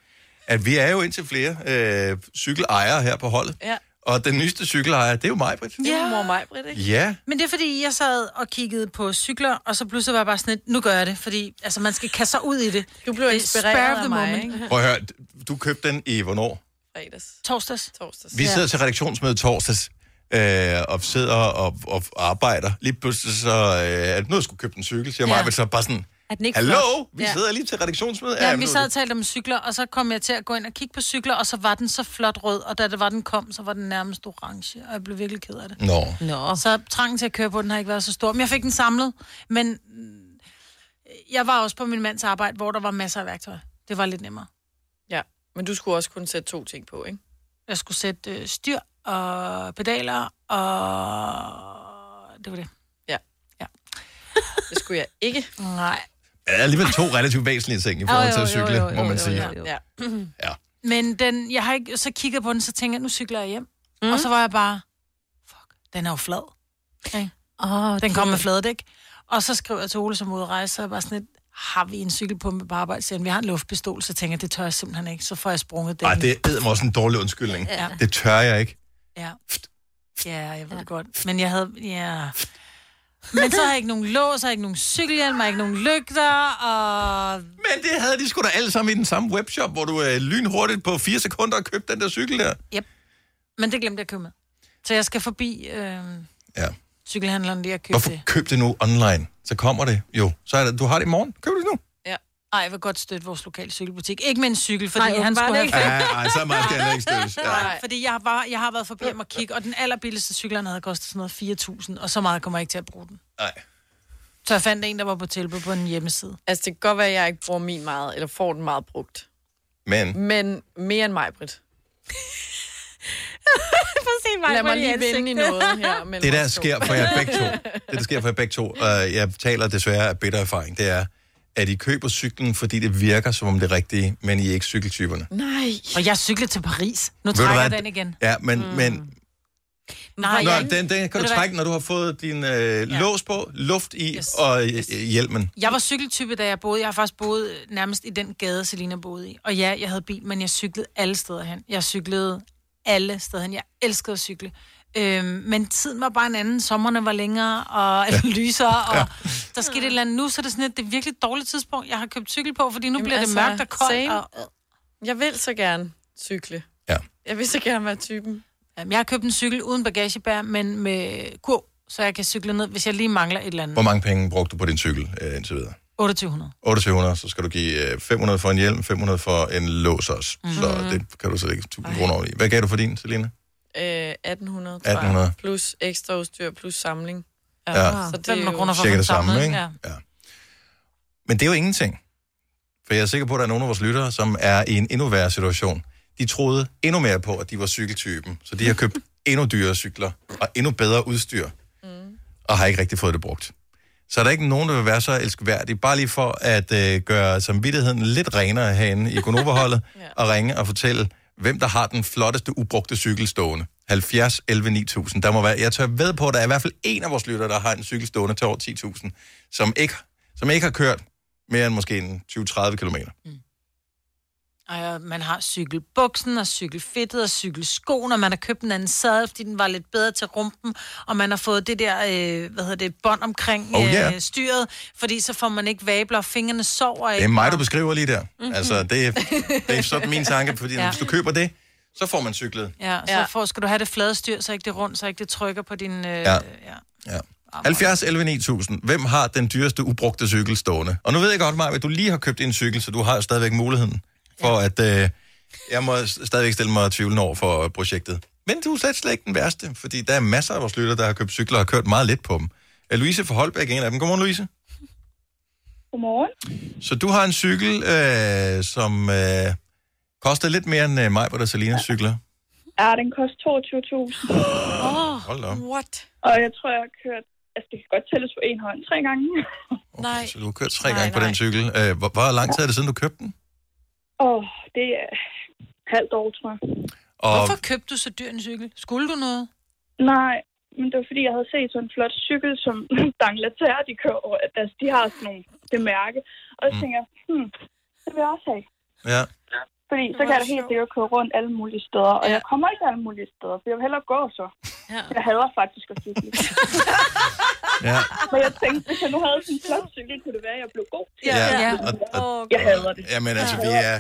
A: at vi er jo indtil flere øh, cykelejere her på holdet,
C: Ja.
A: og den nyeste cykelejer, det er jo mig, Britt.
C: Det er mor mig, Britt, ikke?
A: Ja.
B: Men det er fordi, jeg sad og kiggede på cykler, og så pludselig var jeg bare sådan lidt, nu gør jeg det, fordi altså, man skal kaste sig ud i det.
C: Du blev inspireret af mig, ikke?
A: Prøv at høre, du købte den i hvornår?
C: Fredags.
B: Torsdags.
C: Torsdags.
A: Vi sidder til redaktionsmøde torsdags, øh, og sidder og, og arbejder. Lige pludselig så, øh, at nu skulle købe en cykel, siger
B: Ja.
A: ja. mig, så bare sådan,
B: Er den ikke
A: hallo,
B: flot?
A: vi
B: Ja.
A: sidder lige til redaktionsmøde.
B: Ja,
A: men
B: vi
A: nu-
B: sad og talte om cykler, og så kom jeg til at gå ind og kigge på cykler, og så var den så flot rød, og da det var, den kom, så var den nærmest orange, og jeg blev virkelig ked af det.
A: Nå.
B: Nå. Så trangen til at køre på den har ikke været så stor, men jeg fik den samlet. Men mm, jeg var også på min mands arbejde, hvor der var masser af værktøj. Det var lidt nemmere.
C: Ja, men du skulle også kunne sætte to ting på, ikke?
B: Jeg skulle sætte øh, styr og pedaler, og det var det.
C: Ja.
B: ja.
C: det skulle jeg ikke.
B: Nej.
A: Ja, der er alligevel to relativt væsentlige ting i forhold til at cykle, må man sige.
C: Ja.
A: ja.
B: Men den, jeg har ikke, så kigger jeg på den, så tænker jeg, nu cykler jeg hjem. Mm. Og så var jeg bare, fuck, den er jo flad. Okay.
D: Oh,
B: den kom med fladedæk. Og så skriver jeg til Ole som udrejse, så er jeg bare sådan lidt, har vi en cykelpumpe på arbejde? Så siger han, vi har en luftpistol, så tænker jeg, det tør jeg simpelthen ikke. Så får jeg sprunget den.
A: Ej, det er mig også en dårlig undskyldning.
B: Ja.
A: Ja. Det tør jeg ikke.
B: Ja. ja, jeg ved det godt. Men jeg havde... Ja. Men så har jeg ikke nogen lås, jeg har ikke nogen cykelhjelm, jeg har ikke nogen lygter, og...
A: Men det havde de sgu da alle sammen i den samme webshop, hvor du øh, lynhurtigt på fire sekunder købte den der cykel der.
B: Yep. Men det glemte jeg at købe med. Så jeg skal forbi øh,
A: Ja.
B: cykelhandleren lige og købe
A: Hvorfor
B: det.
A: køb det nu online? Så kommer det jo. Så er det, du har det i morgen. Køb det nu.
B: Ja. Ej, jeg vil godt støtte vores lokale cykelbutik. Ikke med en cykel, fordi
D: Nej,
B: Nej, han
D: åbenbart
B: skulle have...
D: ikke.
B: fem.
D: Ja,
A: ej, så meget skal jeg ikke støttes. Ja.
B: Nej, fordi jeg, var, jeg har været forbi ham og kigge, og den allerbilligste cykel, han havde kostet sådan noget 4.000, og så meget kommer jeg ikke til at bruge den.
A: Nej.
B: Så jeg fandt en, der var på tilbud på en hjemmeside.
C: Altså, det kan godt være, at jeg ikke bruger min meget, eller får den meget brugt.
A: Men
C: Men mere end mig, Britt.
D: mig,
C: Lad mig
D: Britt, i
C: lige vinde i
D: ansigtet.
C: noget her. mellem
A: Det der
C: os to.
A: sker for jer begge to, det der sker for jer begge to, og jeg taler desværre af bitter erfaring, det er, at I køber cyklen, fordi det virker som om det rigtige, men I er ikke cykeltyperne.
C: Nej.
B: Og jeg cyklede til Paris. Nu
A: Ved du
B: trækker
A: hvad?
B: den igen.
A: Ja, men, mm. men
B: Nej,
A: Nå,
B: jeg-
A: den,
B: Ved
A: den kan
B: du
A: du
B: hvad?
A: trække, når du har fået din øh, ja. lås på, luft i yes. og øh, hjelmen.
B: Jeg var cykeltype, da jeg boede. Jeg har faktisk boet øh, nærmest i den gade, Selina boede i. Og ja, jeg havde bil, men jeg cyklede alle steder hen. Jeg cyklede alle steder hen. Jeg elskede at cykle. Øhm, men tiden var bare en anden. Sommerne var længere og ja. lysere, og ja. der skete et eller andet. Nu så er det sådan et, det er virkelig et dårligt tidspunkt, jeg har købt cykel på, fordi nu Jamen bliver det altså, mørkt og koldt.
C: same.
B: Og,
C: Jeg vil så gerne cykle.
A: Ja.
C: Jeg vil så gerne være typen.
B: Jamen, jeg har købt en cykel uden bagagebær, men med kurv, så jeg kan cykle ned, hvis jeg lige mangler et eller andet.
A: Hvor mange penge brugte du på din cykel øh, indtil videre?
B: 2800.
A: 2800, så skal du give øh, 500 for en hjelm, 500 for en lås også. Mm. Så
C: Mhm.
A: det kan du så lægge 1000 kroner over i. Hvad gav du for din, Selina?
C: Øh, 1800, tror jeg.
A: 1800.
C: Plus ekstra udstyr, plus samling.
A: Ja.
C: Så det er
B: 500
C: jo...
B: kroner for
A: cirka
B: den
A: det samme,
B: samlede,
A: ikke?
B: Ja.
A: Men det er jo ingenting. For jeg er sikker på, at der er nogle af vores lyttere, som er i en endnu værre situation. De troede endnu mere på, at de var cykeltypen, så de har købt endnu dyrere cykler og endnu bedre udstyr, mm. og har ikke rigtig fået det brugt. Så er der ikke nogen, der vil være så elskværdig, bare lige for at øh, gøre samvittigheden lidt renere herinde i Gonova-holdet, ja. og ringe og fortælle, hvem der har den flotteste ubrugte cykel stående. 70 11 9000. Der må være, jeg tør ved på, at der er i hvert fald en af vores lyttere, der har en cykel stående til over 10.000, som ikke, som ikke har kørt mere end måske en 20-30 km.
B: Og ja, man har cykelbuksen og cykelfittet og cykelskoen, og man har købt en anden sadel, fordi den var lidt bedre til rumpen, og man har fået det der, øh, hvad hedder det, bånd omkring
A: Oh, yeah.
B: øh, styret, fordi så får man ikke vabler, og fingrene sover ikke.
A: Det er mig, du beskriver lige der.
B: Mhm.
A: Altså, det, er- det er sådan min tanke, fordi
B: Ja.
A: ja. hvis du køber det, så får man cyklet.
B: Ja, så ja. Får, skal du have det flade styr, så ikke det er rundt, så ikke det trykker på din... Øh,
A: Ja. Ja. 70 11 9000. Hvem har den dyreste ubrugte cykel stående? Og nu ved jeg godt, Maja, at du lige har købt en cykel, så du har stadigvæk muligheden for at øh, Jeg må s- stadigvæk stille mig tvivlende over for øh, projektet. Men du er slet, slet ikke den værste, fordi der er masser af vores lytter, der har købt cykler og har kørt meget lidt på dem. Øh, Louise for Holbæk er en af dem. Godmorgen, Louise.
I: Godmorgen.
A: Så du har en cykel, øh, som øh, koster lidt mere end øh, mig på der Salinas cykler.
I: Ja, den koster 22.000. oh,
A: Hold da op.
I: what? Og jeg tror, jeg har kørt... Altså, det kan godt tælles på en hånd tre gange. Nej.
A: Så du har kørt tre gange på den cykel. Øh, hvor, hvor lang tid er det siden, du købte den?
I: Åh, oh, det er halvt år, tror jeg.
A: Og
I: Hvorfor?
B: Hvorfor købte du så dyr en cykel? Skulle du noget?
I: Nej, men det var fordi, jeg havde set sådan en flot cykel, som Dangletær, de kører over. Altså, de har sådan nogle, det mærke. Og så tænker jeg, hmm, det vil jeg også have.
A: Mm. Ja.
I: Fordi så
J: Det
I: kan
J: var
I: jeg da helt sikkert køre rundt alle mulige steder, og jeg kommer ikke alle mulige steder, for jeg vil hellere gå så.
D: Ja.
I: Jeg hader faktisk at cykle.
A: Ja.
I: Men jeg tænkte, hvis jeg nu havde sådan en flot cykel, kunne det være, at jeg blev god til
A: Ja,
I: det.
A: ja.
I: Jeg hader det.
A: Jamen altså, vi er...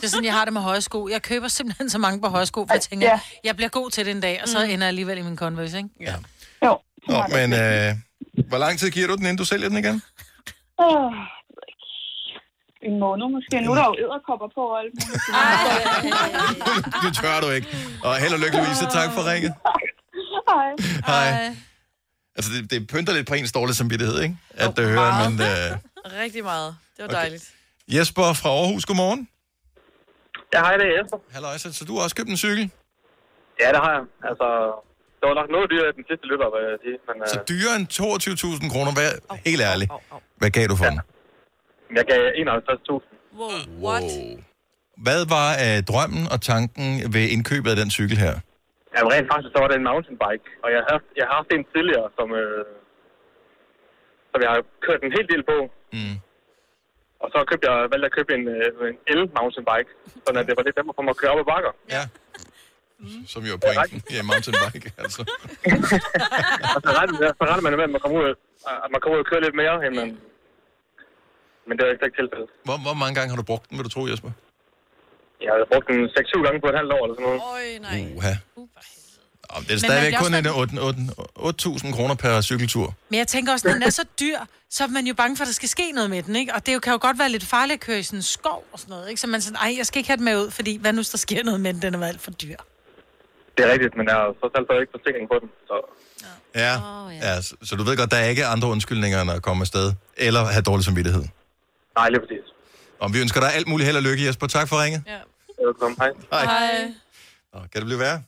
B: Det er sådan, jeg har det med høje sko. Jeg køber simpelthen så mange på høje sko, for jeg tænker, jeg bliver god til det en dag, og så ender jeg alligevel i min Converse, ikke?
A: Ja. Nå, men øh, hvor lang tid giver du den, inden du sælger den igen?
I: Åh, en måned måske. Nu er der jo æderkopper på og alt muligt.
A: det tør du ikke. Og held og lykke, Louise. Tak for ringet.
I: Hej.
A: Hej. Altså, det, det pynter lidt på ens dårlige samvittighed, ikke? At det hører, men... Øh,
C: Rigtig meget. Det var okay. dejligt.
A: Jesper fra Aarhus, godmorgen.
W: Ja, hej, det er Jesper.
A: Halløj, så, så du har også købt en cykel?
W: Ja, det har jeg. Altså, det var nok noget dyrere i den sidste løber, hvad jeg sige. Men, øh, så
A: dyr? Dyrere end 22.000 kroner, hvad, helt ærligt. Hvad gav du for den?
W: Jeg gav 51.000.
C: Wow, what?
A: Hvad var øh, drømmen og tanken ved indkøbet af den cykel her?
W: Ja, men rent faktisk, så var det en mountainbike. Og jeg har, jeg har haft en tidligere, som, øh, som jeg har kørt en hel del på.
A: Mm.
W: Og så købte jeg, valgte jeg at købe en, øh, en el-mountainbike, så det var lidt nemmere for mig at køre op ad bakker.
A: Ja. Som jo er pointen i en mountainbike, altså.
W: og så retter, man- så retter man med, at man kommer ud, at man kommer ud og kører lidt mere, end man... Men det var ikke tilfældet.
A: Hvor, hvor mange gange har du brugt den, vil du tro, Jesper?
W: Jeg har brugt den 6-7 gange på et halvt år eller sådan noget.
C: Øj, nej.
A: Uha. Nå, det er
B: man
A: stadigvæk
B: bliver
A: kun
B: også
A: en 8 8 8.000 kroner per cykeltur.
B: Men jeg tænker også, når den er så dyr, så er man jo bange for, at der skal ske noget med den, ikke? Og det jo, kan jo godt være lidt farligt at køre i sådan en skov og sådan noget, ikke? Så man sådan, ej, jeg skal ikke have den med ud, fordi hvad nu, hvis der sker noget med den, den er alt for dyr.
W: Det er rigtigt, men jeg har trods alt stadig ikke forsikring på den. Så
A: Ja. Oh, ja. ja så, så du ved godt, der er ikke andre undskyldninger, end at komme afsted. Eller have dårlig samvittighed.
W: nej, lige præcis.
A: Og vi ønsker dig alt muligt held og lykke, Jesper. Tak for ringet.
W: Velkommen, hej.
A: Hej.
C: Hej.
A: Nå, kan det blive værre?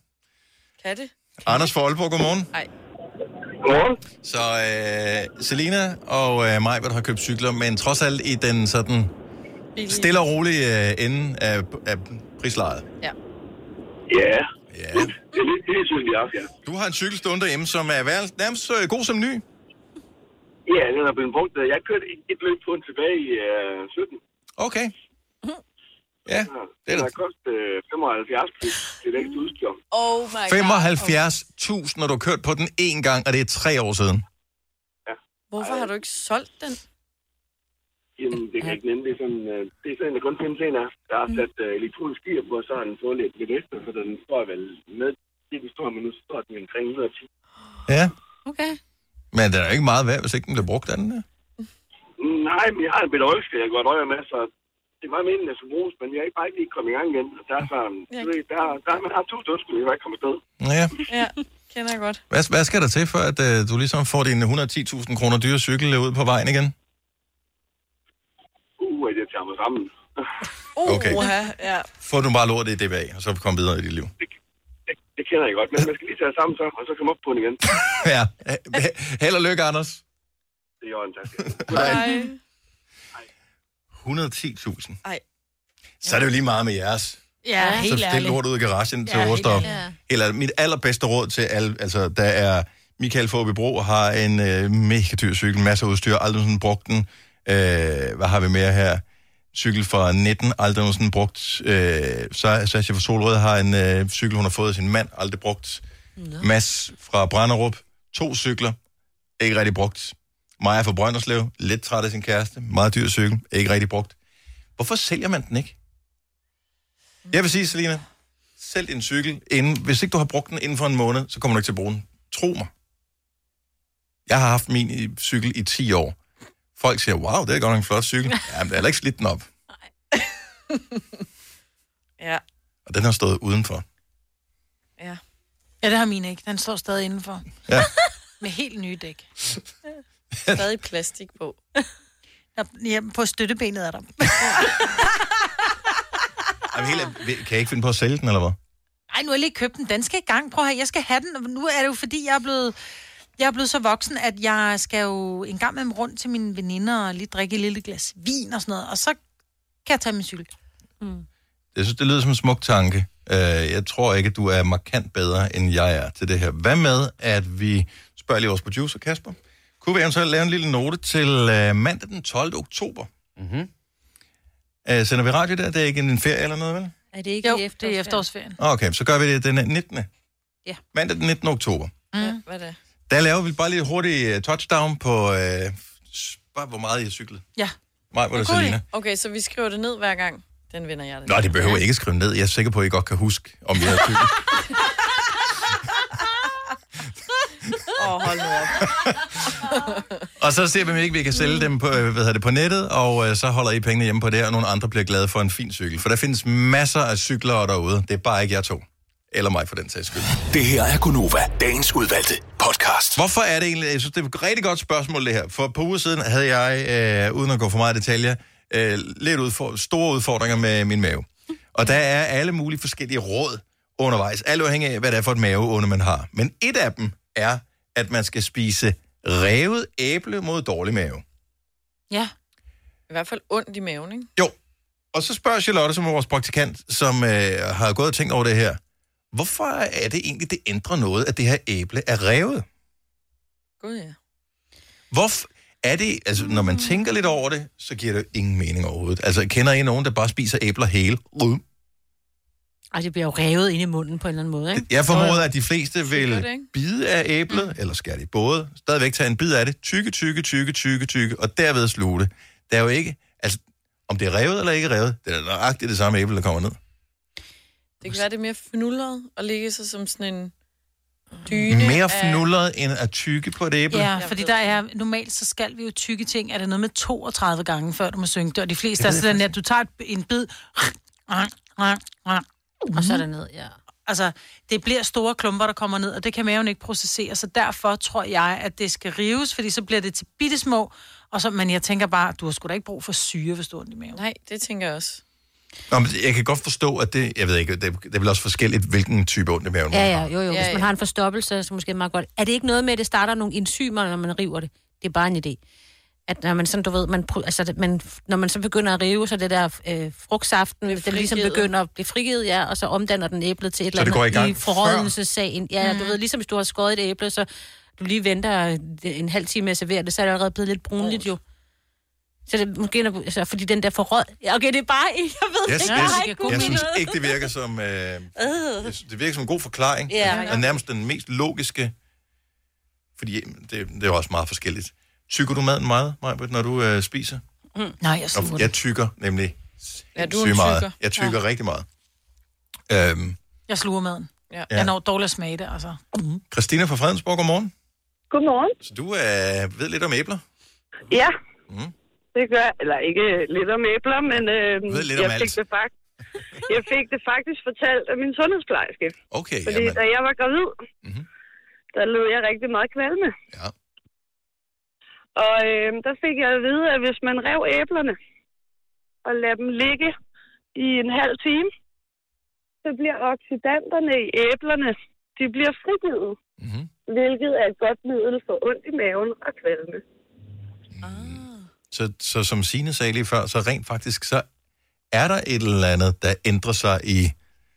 C: Kan det?
A: Anders fra Aalborg, godmorgen.
C: Hej.
W: Godmorgen.
A: Så øh, Selina og øh, Majbert har købt cykler, men trods alt i den sådan stille og rolige øh, ende af, af prislejet.
X: Ja.
A: Ja.
X: Det er lidt det, jeg synes, vi har haft, ja.
A: Du har en cykel stående derhjemme, som er værl- nærmest øh, god som ny.
X: Ja, den er blevet brugt. Jeg kørte et, et løb på den tilbage i øh, 17.
A: Okay.
X: det er
A: Ja,
X: det. Den har kostet øh, 75 plus det længste udstyr.
C: Oh my god.
A: 75.000, når du har kørt på den én gang, og det er tre år siden.
C: Hvorfor har du ikke solgt den?
X: Jamen, det kan jeg ikke nemme. Det er sådan, øh, det er sådan, der kun findes en af. Jeg har sat øh, elektronisk gear på, og så har den fået lidt lidt efter, så den står vel med det, den står, men nu står den omkring 110.
A: Ja,
D: Okay.
A: men den er jo ikke meget værd, hvis ikke den bliver brugt af den der.
X: Nej, men jeg har en bedre ønske, jeg går drøjer med, så det var meningen, at jeg skulle bruges, men jeg er bare ikke lige kommet i gang igen. Og der, er sådan, du ved, der, der, man har to dødskud, jeg var ikke kommet afsted.
A: Ja.
C: Ja, kender jeg godt.
A: Hvad, hvad skal der til, for at øh, du ligesom får din 110.000 kroner dyre cykel ud på vejen igen?
X: Uh, at jeg tager mig sammen.
C: Uh,
A: Okay.
C: ja.
A: Få nu bare lortet i DBA, og så kom videre i dit liv.
X: Det kender jeg godt, men man skal lige tage sig sammen så, og så komme op på den igen.
A: ja. Held og lykke, Anders.
X: Det er jo en tak.
A: 110.000.
C: Ej.
A: Så er det jo lige meget med jeres.
B: Ja,
A: så
B: helt
A: stil
B: ærligt.
A: lort ud i garagen til
B: Ja, helt
A: råstof.
B: ærligt. Ja.
A: Helt ærligt. Mit allerbedste råd til alle, altså der er Michael Forbibro har en øh, mega dyr cykel, masser af udstyr, aldrig sådan brugt den. Øh, hvad har vi mere her? Cykel fra 19, aldrig nogensinde brugt. Øh, Sa- Sasha fra Solrød har en øh, cykel, hun har fået af sin mand, aldrig brugt. Mads fra Branderup, to cykler, ikke rigtig brugt. Maja fra Brønderslev, lidt træt af sin kæreste, meget dyr cykel, ikke rigtig brugt. Hvorfor sælger man den ikke? Jeg vil sige, Selina, sælg din cykel, inden, hvis ikke du har brugt den inden for en måned, så kommer du ikke til at bruge den. Tro mig. Jeg har haft min i- cykel i 10 år. Folk siger, wow, det er godt nok en flot cykel. Ja, men det er heller ikke slidt den op.
C: Ja.
A: og den har stået udenfor.
C: Ja.
B: Ja, det har min ikke. Den står stadig indenfor.
A: Ja.
B: Med helt nye dæk.
C: Stadig plastik på.
B: Der, ja, på støttebenet er der.
A: Jamen, hele, kan jeg ikke finde på at sælge den, eller hvad?
B: Ej, nu har jeg lige købt den. Den skal i gang. Prøv her, jeg skal have den. Nu er det jo, fordi jeg er blevet... Jeg er blevet så voksen, at jeg skal jo en gang med dem rundt til mine veninder og lige drikke et lille glas vin og sådan noget. Og så kan jeg tage min cykel. Mm.
A: Jeg synes, det lyder som en smuk tanke. Øh, Jeg tror ikke, at du er markant bedre, end jeg er til det her. Hvad med, at vi spørger lige vores producer, Kasper? Kunne vi eventuelt lave en lille note til øh, mandag den 12. oktober? Mm-hmm. Øh, sender vi radio der? Det er ikke en ferie eller noget, vel? Ah,
D: Er det ikke jo, efterårsferien? det er
B: efterårsferien.
A: Okay, så gør vi det den 19.
D: Ja.
A: Mandag den 19. oktober.
B: Mm. Ja, hvad er det?
A: Der laver vi bare lige hurtigt øh, touchdown på... Øh, s- bare hvor meget I har cyklet.
B: Ja.
A: Mig, hvor er det Selina.
C: Okay, så vi skriver det ned hver gang. Den vinder jeg den.
A: Nå, det behøver I ikke skrive ned. Jeg er sikker på, at I godt kan huske, om jeg har cyklet.
C: Åh, oh, hold nu op.
A: Og så ser vi, om ikke vi kan sælge dem på, øh, hvad hedder det, på nettet, og øh, så holder I pengene hjemme på det, og nogle andre bliver glade for en fin cykel. For der findes masser af cykler derude. Det er bare ikke jer to. Eller mig for den sags skyld.
G: Det her er Gunova, dagens udvalgte podcast.
A: Hvorfor er det egentlig... Jeg synes, det er et rigtig godt spørgsmål, det her. For på uger siden havde jeg, øh, uden at gå for meget i detaljer, øh, lidt udfor- store udfordringer med min mave. Og der er alle mulige forskellige råd undervejs, alt afhængig af, hvad det er for et maveunde, man har. Men et af dem er, at man skal spise revet æble mod dårlig mave.
B: Ja.
C: I hvert fald ondt i maven, ikke?
A: Jo. Og så spørger Charlotte, som er vores praktikant, som øh, har gået og tænkt over det her. Hvorfor er det egentlig, det ændrer noget, at det her æble er revet?
C: Gud, ja.
A: Hvorfor er det, altså når
D: Mm.
A: man tænker lidt over det, så giver det jo ingen mening overhovedet. Altså kender I nogen, der bare spiser æbler hele? Rød.
D: Ej, det bliver jo revet ind i munden på en eller anden måde, ikke?
A: Jeg formoder, at de fleste
D: Sikkert,
A: vil
D: ikke?
A: bide af æblet, mm. eller skære det i både, stadigvæk tage en bid af det, tykke, tykke, tykke, tykke, tykke, og derved sluge det. Der er jo ikke, altså om det er revet eller ikke revet, det er nøjagtigt det samme æble, der kommer ned.
C: Det kan være, det er mere fnullet og ligge sig som sådan en dyne.
A: Mere
C: af-
A: fnullet end at tykke på et æble.
B: Ja, fordi der er, normalt så skal vi jo tykke ting, er det noget med 32 gange, før du må synge det, og de fleste
A: Det
B: er
A: ved jeg
B: sådan, at du tager et, en bid, og
D: så er det ned, ja.
B: Altså, det bliver store klumper, der kommer ned, og det kan maven ikke processere, så derfor tror jeg, at det skal rives, fordi så bliver det til bittesmå, og så, men jeg tænker bare, du har sgu da ikke brug for syre, hvis du har ondt i maven.
C: Nej, det tænker jeg også.
A: Nå, men jeg kan godt forstå, at det, jeg ved ikke, det, det er vel også forskelligt, hvilken type ondt i maven man
D: Ja,
A: har.
D: ja, jo, jo. Hvis man har en forstoppelse, så måske det er meget godt. Er det ikke noget med, at det starter nogle enzymer, når man river det? Det er bare en idé. At når man sådan, du ved, man, pr- altså, det- man, når man så begynder at rive, så det der øh, frugtsaften, den ligesom
C: frigivet.
D: begynder at blive frigivet, ja, og så omdanner den æblet til et
C: Så det
D: eller
C: går i
D: andet
C: gang før?
D: forrådnelsessagen. Ja, mm. du ved, ligesom hvis du har skåret et æble, så du lige venter en halv time med at servere det, så er det allerede blevet lidt brunligt jo. Så det måske, når- altså, fordi den der forråd... Ja, Okay, det er bare... Jeg ved
A: Jeg,
D: ikke,
A: jeg,
D: jeg har
A: jeg,
D: ikke
A: jeg synes
D: noget.
A: ikke, det virker som... Øh, jeg
D: Øh.
A: synes, det virker som en god forklaring.
D: Ja.
A: og nærmest den mest logiske. Fordi det, det er jo også meget forskelligt. Tykker du maden meget, Majbert, når du øh, spiser?
B: Mm. Nej, jeg
A: Nå,
B: sluger
A: jeg tykker nemlig
B: Ja, du er en
A: syge meget.
B: tykker.
A: Jeg tykker
B: Ja.
A: ja. rigtig meget. Øhm,
B: Jeg sluger maden.
C: Ja.
B: Jeg når dårlig at smage det, altså.
A: Christina fra Fredensborg, godmorgen.
H: Godmorgen.
A: Så du øh, ved lidt om æbler?
H: Ja.
A: Mm.
H: Det gør Eller ikke lidt om æbler, men øh,
A: Du ved lidt
H: jeg,
A: om
H: fik
A: alt.
H: det fakt, jeg fik det faktisk fortalt af min sundhedsplejerske.
A: Okay,
H: Fordi
A: jamen. Mhm.
H: da jeg var gravid, mm-hmm. der lød jeg rigtig meget kvalme.
A: Ja.
H: Og øh, der fik jeg at vide, at hvis man rev æblerne og lader dem ligge i en halv time, så bliver oxidanterne i æblerne, de bliver frigivet.
A: Mhm.
H: Mm-hmm. Hvilket er et godt middel for ondt i maven og kvalme.
A: Så, så som Signe sagde lige før, så rent faktisk, så er der et eller andet, der ændrer sig i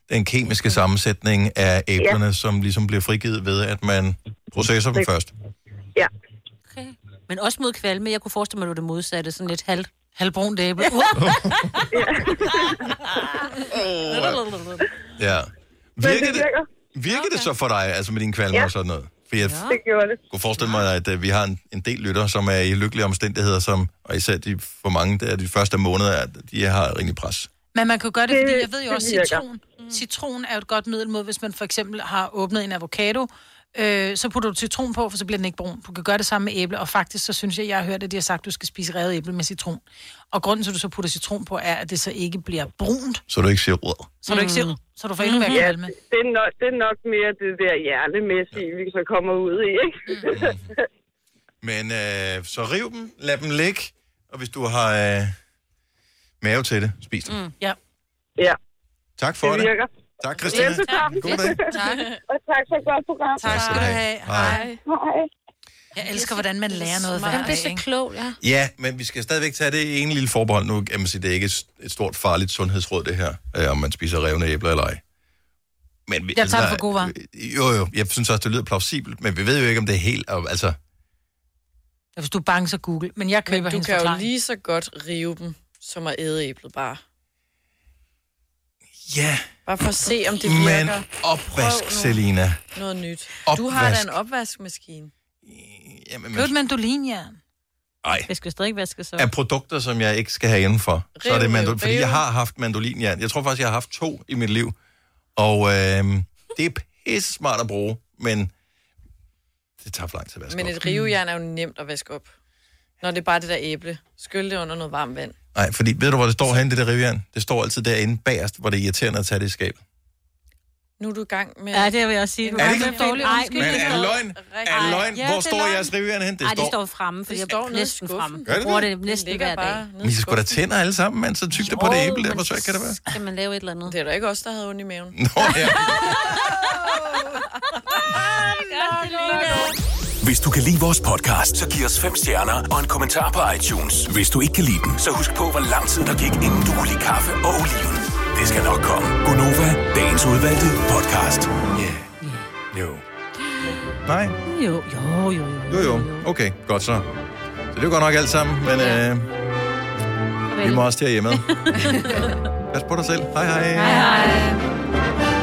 A: den kemiske sammensætning af æblerne, ja. som ligesom bliver frigivet ved, at man processer dem først.
H: Ja.
D: Okay. Men også mod kvalme. Jeg kunne forestille mig, at det var det modsatte. Sådan lidt halv...
B: Halvbrun æble.
A: Ja.
H: Men
A: Virker
H: det
A: det,
H: virker.
A: virker det så for dig, altså med dine kvalme
H: Ja.
A: ja. og sådan noget? For jeg
H: Det gjorde det.
A: kunne forestille mig, at øh, vi har en, en del lyttere, som er i lykkelige omstændigheder, som, og især de, for mange der, de første måneder, at de har rimelig pres.
B: Men man kan jo gøre det,
H: Det-
B: fordi jeg ved jo
H: det
B: også,
H: virker. Mm.
B: citron, citron er jo et godt middel mod, hvis man for eksempel har åbnet en avocado, øh, så putter du citron på, for så bliver den ikke brun. Du kan gøre det samme med æble, og faktisk så synes jeg, jeg har hørt, at de har sagt, at du skal spise revet æble med citron. Og grunden til, at du så putter citron på, er, at det så ikke bliver brunt,
A: Så du ikke siger råd.
B: så du ikke
H: Mm.
B: ser, så du får endnu mere
H: Mhm. Ja,
B: kvalme.
H: det er, nok, det er nok mere det der hjernemæssige, vi så kommer ud i, ikke?
A: Men øh, så riv dem, lad dem ligge, og hvis du har øh, mave til det, spis dem.
B: Mm. Ja.
H: Ja.
A: Tak for det.
H: Det virker.
A: Tak, Christina.
H: Velbekomme.
A: God dag.
H: Tak. Og tak for et godt program.
B: Tak skal du have. Hej.
H: Hej.
B: Jeg elsker, hvordan man lærer noget hver
D: Man bliver så
B: dag,
D: klog, ja.
A: Ja, men vi skal stadigvæk tage det ene lille forbehold nu. Jeg må sige, det er ikke et- et stort farligt sundhedsråd, det her, øh, om man spiser revne æbler eller ej. Men vi,
B: Jeg tager det
A: altså,
B: for gode varer.
A: Jo, jo, jeg synes også, det lyder plausibelt, men vi ved jo ikke, om det er helt... og- Altså,
B: Ja, Hvis du er bange, så google. Men jeg
C: Men
B: køber
C: du
B: hendes
C: kan jo
B: forklaring.
C: lige så godt rive dem, som at æde æblet bare.
A: ja,
C: Bare for at se, om det
A: men
C: virker.
A: opvask,
C: Prøv nu.
A: Selina.
C: Noget nyt. Du har da
A: Opvask.
C: en opvaskemaskine.
A: Jamen,
B: Køb et mandolinnjern.
A: Ej.
D: Det skal stadig vaske så.
A: Af produkter, som jeg ikke skal have indenfor. Så er det
D: Riv,
A: mandol, fordi
D: riv.
A: jeg har haft mandolinjern. Jeg tror faktisk, jeg har haft to i mit liv. Og øh, det er pisse smart at bruge, men det tager for lang tid at vaske
C: Men
A: op.
C: et rivejern er jo nemt at vaske op. Når det er bare det der æble. Skyl det under noget varmt vand.
A: Nej, fordi ved du, hvor det står henne, det der rivjern? Det står altid derinde bagerst, hvor det er irriterende at tage det i skabet.
C: Nu er du i gang med...
D: Ja, det vil jeg også sige.
C: Er
D: Du
C: det
D: har
C: ikke-
D: en dårlig
C: Nej,
D: undskyldning.
A: altså men er det løgn? Er det løgn? Hvor står jeres revjern henne? Det
D: Nej, det
A: står-
D: står fremme, for
C: Det
D: jeg
C: står
D: står
C: nede i
D: næsten
C: skuffen.
D: fremme.
A: Gør
D: Jeg
A: det
D: bruger
A: det?
D: det næsten
C: ligger
D: hver
C: bare
D: dag.
A: Men I skal sgu da tænder alle sammen, mand. Så tyk det på det æble der. Hvor svært kan det være?
D: Skal man lave et eller andet?
C: Det er da ikke os, der havde ondt i maven.
A: Nå, ja.
K: Hvis du kan lide vores podcast, så giv os fem stjerner og en kommentar på iTunes. Hvis du ikke kan lide den, så husk på, hvor lang tid der gik, inden du kunne lide kaffe og oliven. Det skal nok komme. Gonova, dagens udvalgte podcast.
A: Ja. Jo. Nej.
D: Jo, jo, jo.
A: Jo, jo. Okay, godt så. Så det er jo godt nok alt sammen, men øh, vi må også til at hjemme. Pas på dig selv. Hej hej.
D: Hej, hej.